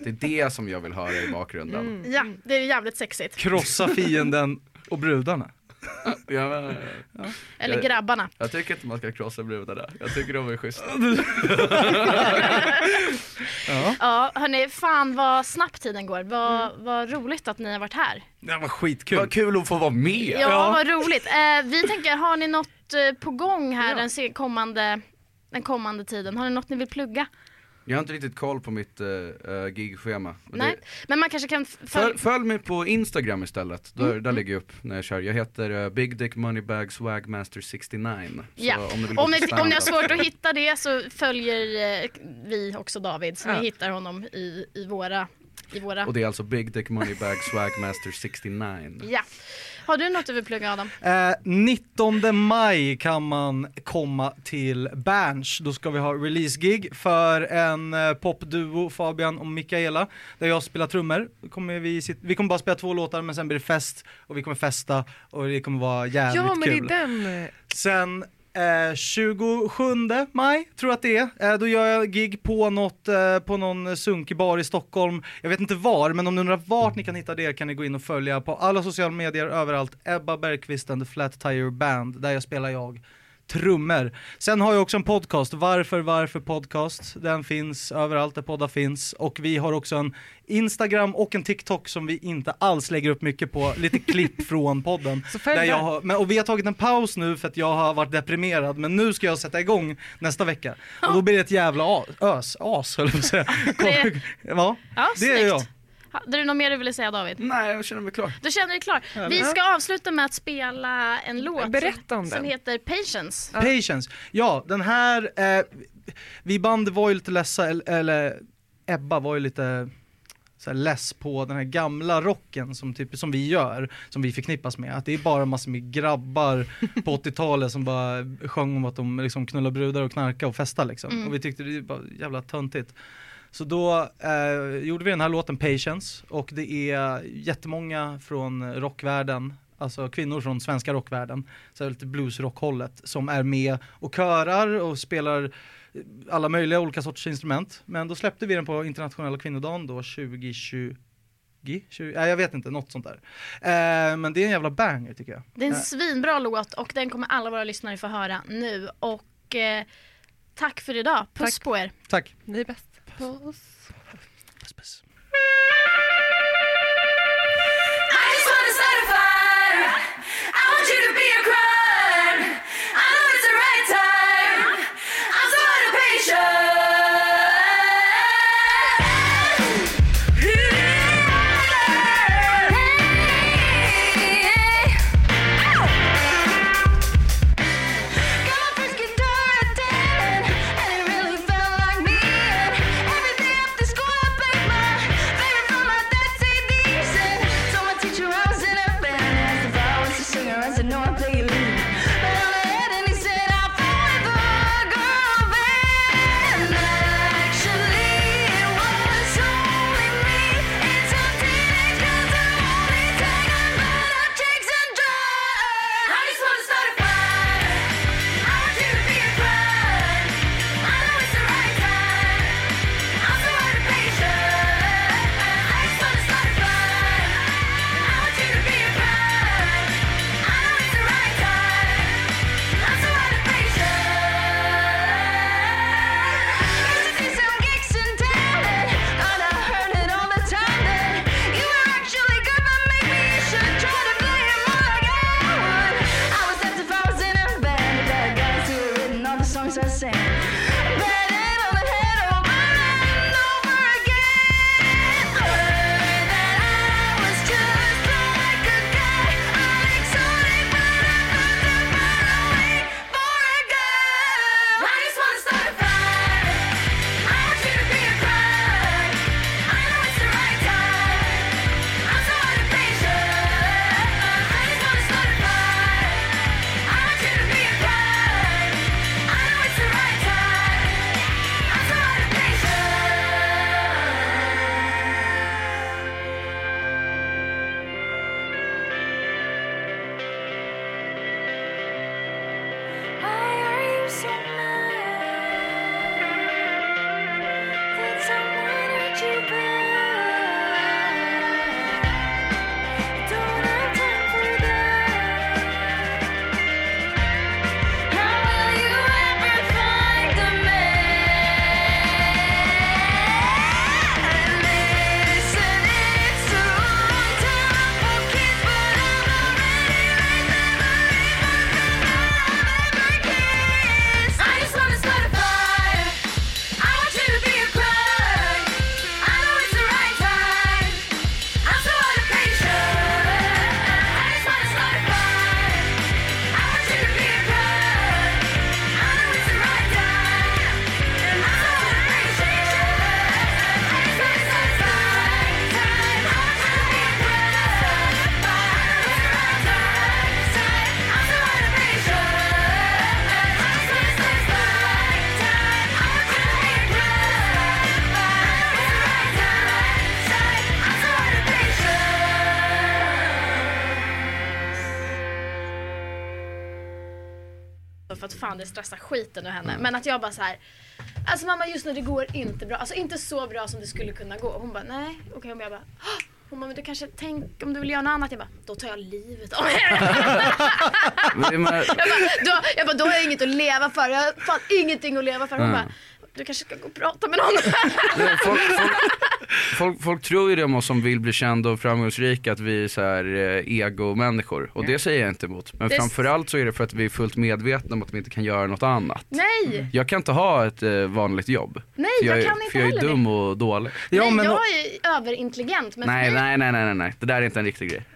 Det är det som jag vill höra i bakgrunden.
Ja, det är jävligt sexigt.
Krossa fienden och brudarna.
Ja, men,
Eller
Jag-
grabbarna.
jag tycker inte man ska krossa brudar där. Jag tycker de är schyssta.
Ja hörni, fan vad snabbt tiden går. Vad,
Mm.
vad roligt att ni har varit här.
Det var skitkul.
Vad kul att få vara
Ja,
med!
vad roligt. Eh, vi tänker, har ni något eh, på gång här den se- kommande den kommande tiden? Har ni något ni vill plugga?
Jag har inte riktigt koll på mitt eh, eh, gigschema. Men
Nej,
det-
men man kanske kan f- följ-
Följ, följ mig på Instagram istället, där,
Mm,
där lägger jag upp när jag kör. Jag heter eh, Big Dick Moneybag Swagmaster 69. Så
Ja.
om ni vill gå
Om
på
ni, om ni har
standup-
svårt att hitta det så följer eh, vi också David så
Ja.
ni hittar honom i, i våra... I våra.
Och det är alltså Big Dick Moneybag Swagmaster 69.
Ja. Har du något du vill plugga Adam?
Eh, 19 maj kan man komma till Berns. Då ska vi ha release-gig för en eh, popduo, Fabian och Mikaela, där jag spelar trummor. Då Kommer vi, sit- vi kommer bara spela två låtar, men sen blir det fest och vi kommer festa och det kommer vara jävligt
Ja, men det
kul.
är den. eh,
Sen eh, 27 maj, tror jag att det är, eh, då gör jag gig på, något, eh, på någon sunkig bar i Stockholm. Jag vet inte var, men om ni undrar vart ni kan hitta det kan ni gå in och följa på alla sociala medier överallt. Ebba Bergqvist and the Flat Tire Band, där jag spelar jag trummor. Sen har jag också en podcast, Varför Varför Podcast. Den finns överallt där poddar finns. Och vi har också en Instagram och en TikTok som vi inte alls lägger upp mycket på. Lite klipp från podden.
Så följ
där jag
där.
har, men, och vi har tagit en paus nu för att jag har varit deprimerad. Men nu ska jag sätta igång nästa vecka. Och då blir det ett jävla as, ös, as höll jag på att säga. [laughs]
Det-
Ja,
Ja,
det är jag.
Hade du något mer du ville säga David?
Nej, jag känner mig klar.
Då känner vi klar. Vi ska avsluta med att spela en låt
Berätta om
som, som
den.
heter Patience.
Patience. Ja, den här, eh, vi band var ju lite ledsa, el- eller Ebba var ju lite så här less på den här gamla rocken som, typ, som vi gör, som vi förknippas med. Att det är bara massor med grabbar på 80-talet som bara sjöng om att de liksom knullar brudar och knarkar och festar liksom. Och vi tyckte det var jävla töntigt. Så då eh, gjorde vi den här låten Patience och det är jättemånga från rockvärlden, alltså kvinnor från svenska rockvärlden, så här lite bluesrockhållet, som är med och körar och spelar eh, alla möjliga olika sorters instrument. Men då släppte vi den på internationella kvinnodagen då 2020, 20, nej jag vet inte, något sånt där. Eh, men det är en jävla banger tycker jag.
Det är en svinbra låt och den kommer alla våra lyssnare få höra nu. Och eh, tack för idag. Puss på er.
Tack!
Ni är bäst. Puss.
Puss, puss.
I just wanna start a fire. I want you to be a crime. I know it's the right time. I'm so impatient. Got frisky during and it really felt like me. And everything up the score, I played my
kroppen för att fan det stressar skiten ur henne.
Mm.
Men att jag bara så här. Alltså mamma just nu det går inte bra. Alltså inte så bra som det skulle kunna gå. Hon bara nej. Okej okay, jag bara. "Ah." Hon bara men du kanske tänk om du vill göra något annat. Jag bara då tar [laughs] jag livet av er.
Men jag menar,
Jag bara, då, jag bara, då har jag inget att leva för. Jag har fan ingenting att leva för. Hon
Mm.
bara, du kanske ska gå och prata med någon. [laughs]
Nej, folk, folk, folk, folk tror ju det om oss som vill bli kända och framgångsrika att vi är så här eh, ego-människor och det säger jag inte emot. Men
Det-
framförallt så är det för att vi är fullt medvetna om att vi inte kan göra något annat.
Nej,
Jag kan inte ha ett eh, vanligt jobb.
nej
Mm. För
jag,
är-
kan inte
För jag
heller
är
det.
dum och dålig.
Ja,
nej,
men,
jag är överintelligent men
Nej,
för mig,
nej, nej, nej, nej, nej, det där är inte en riktig grej.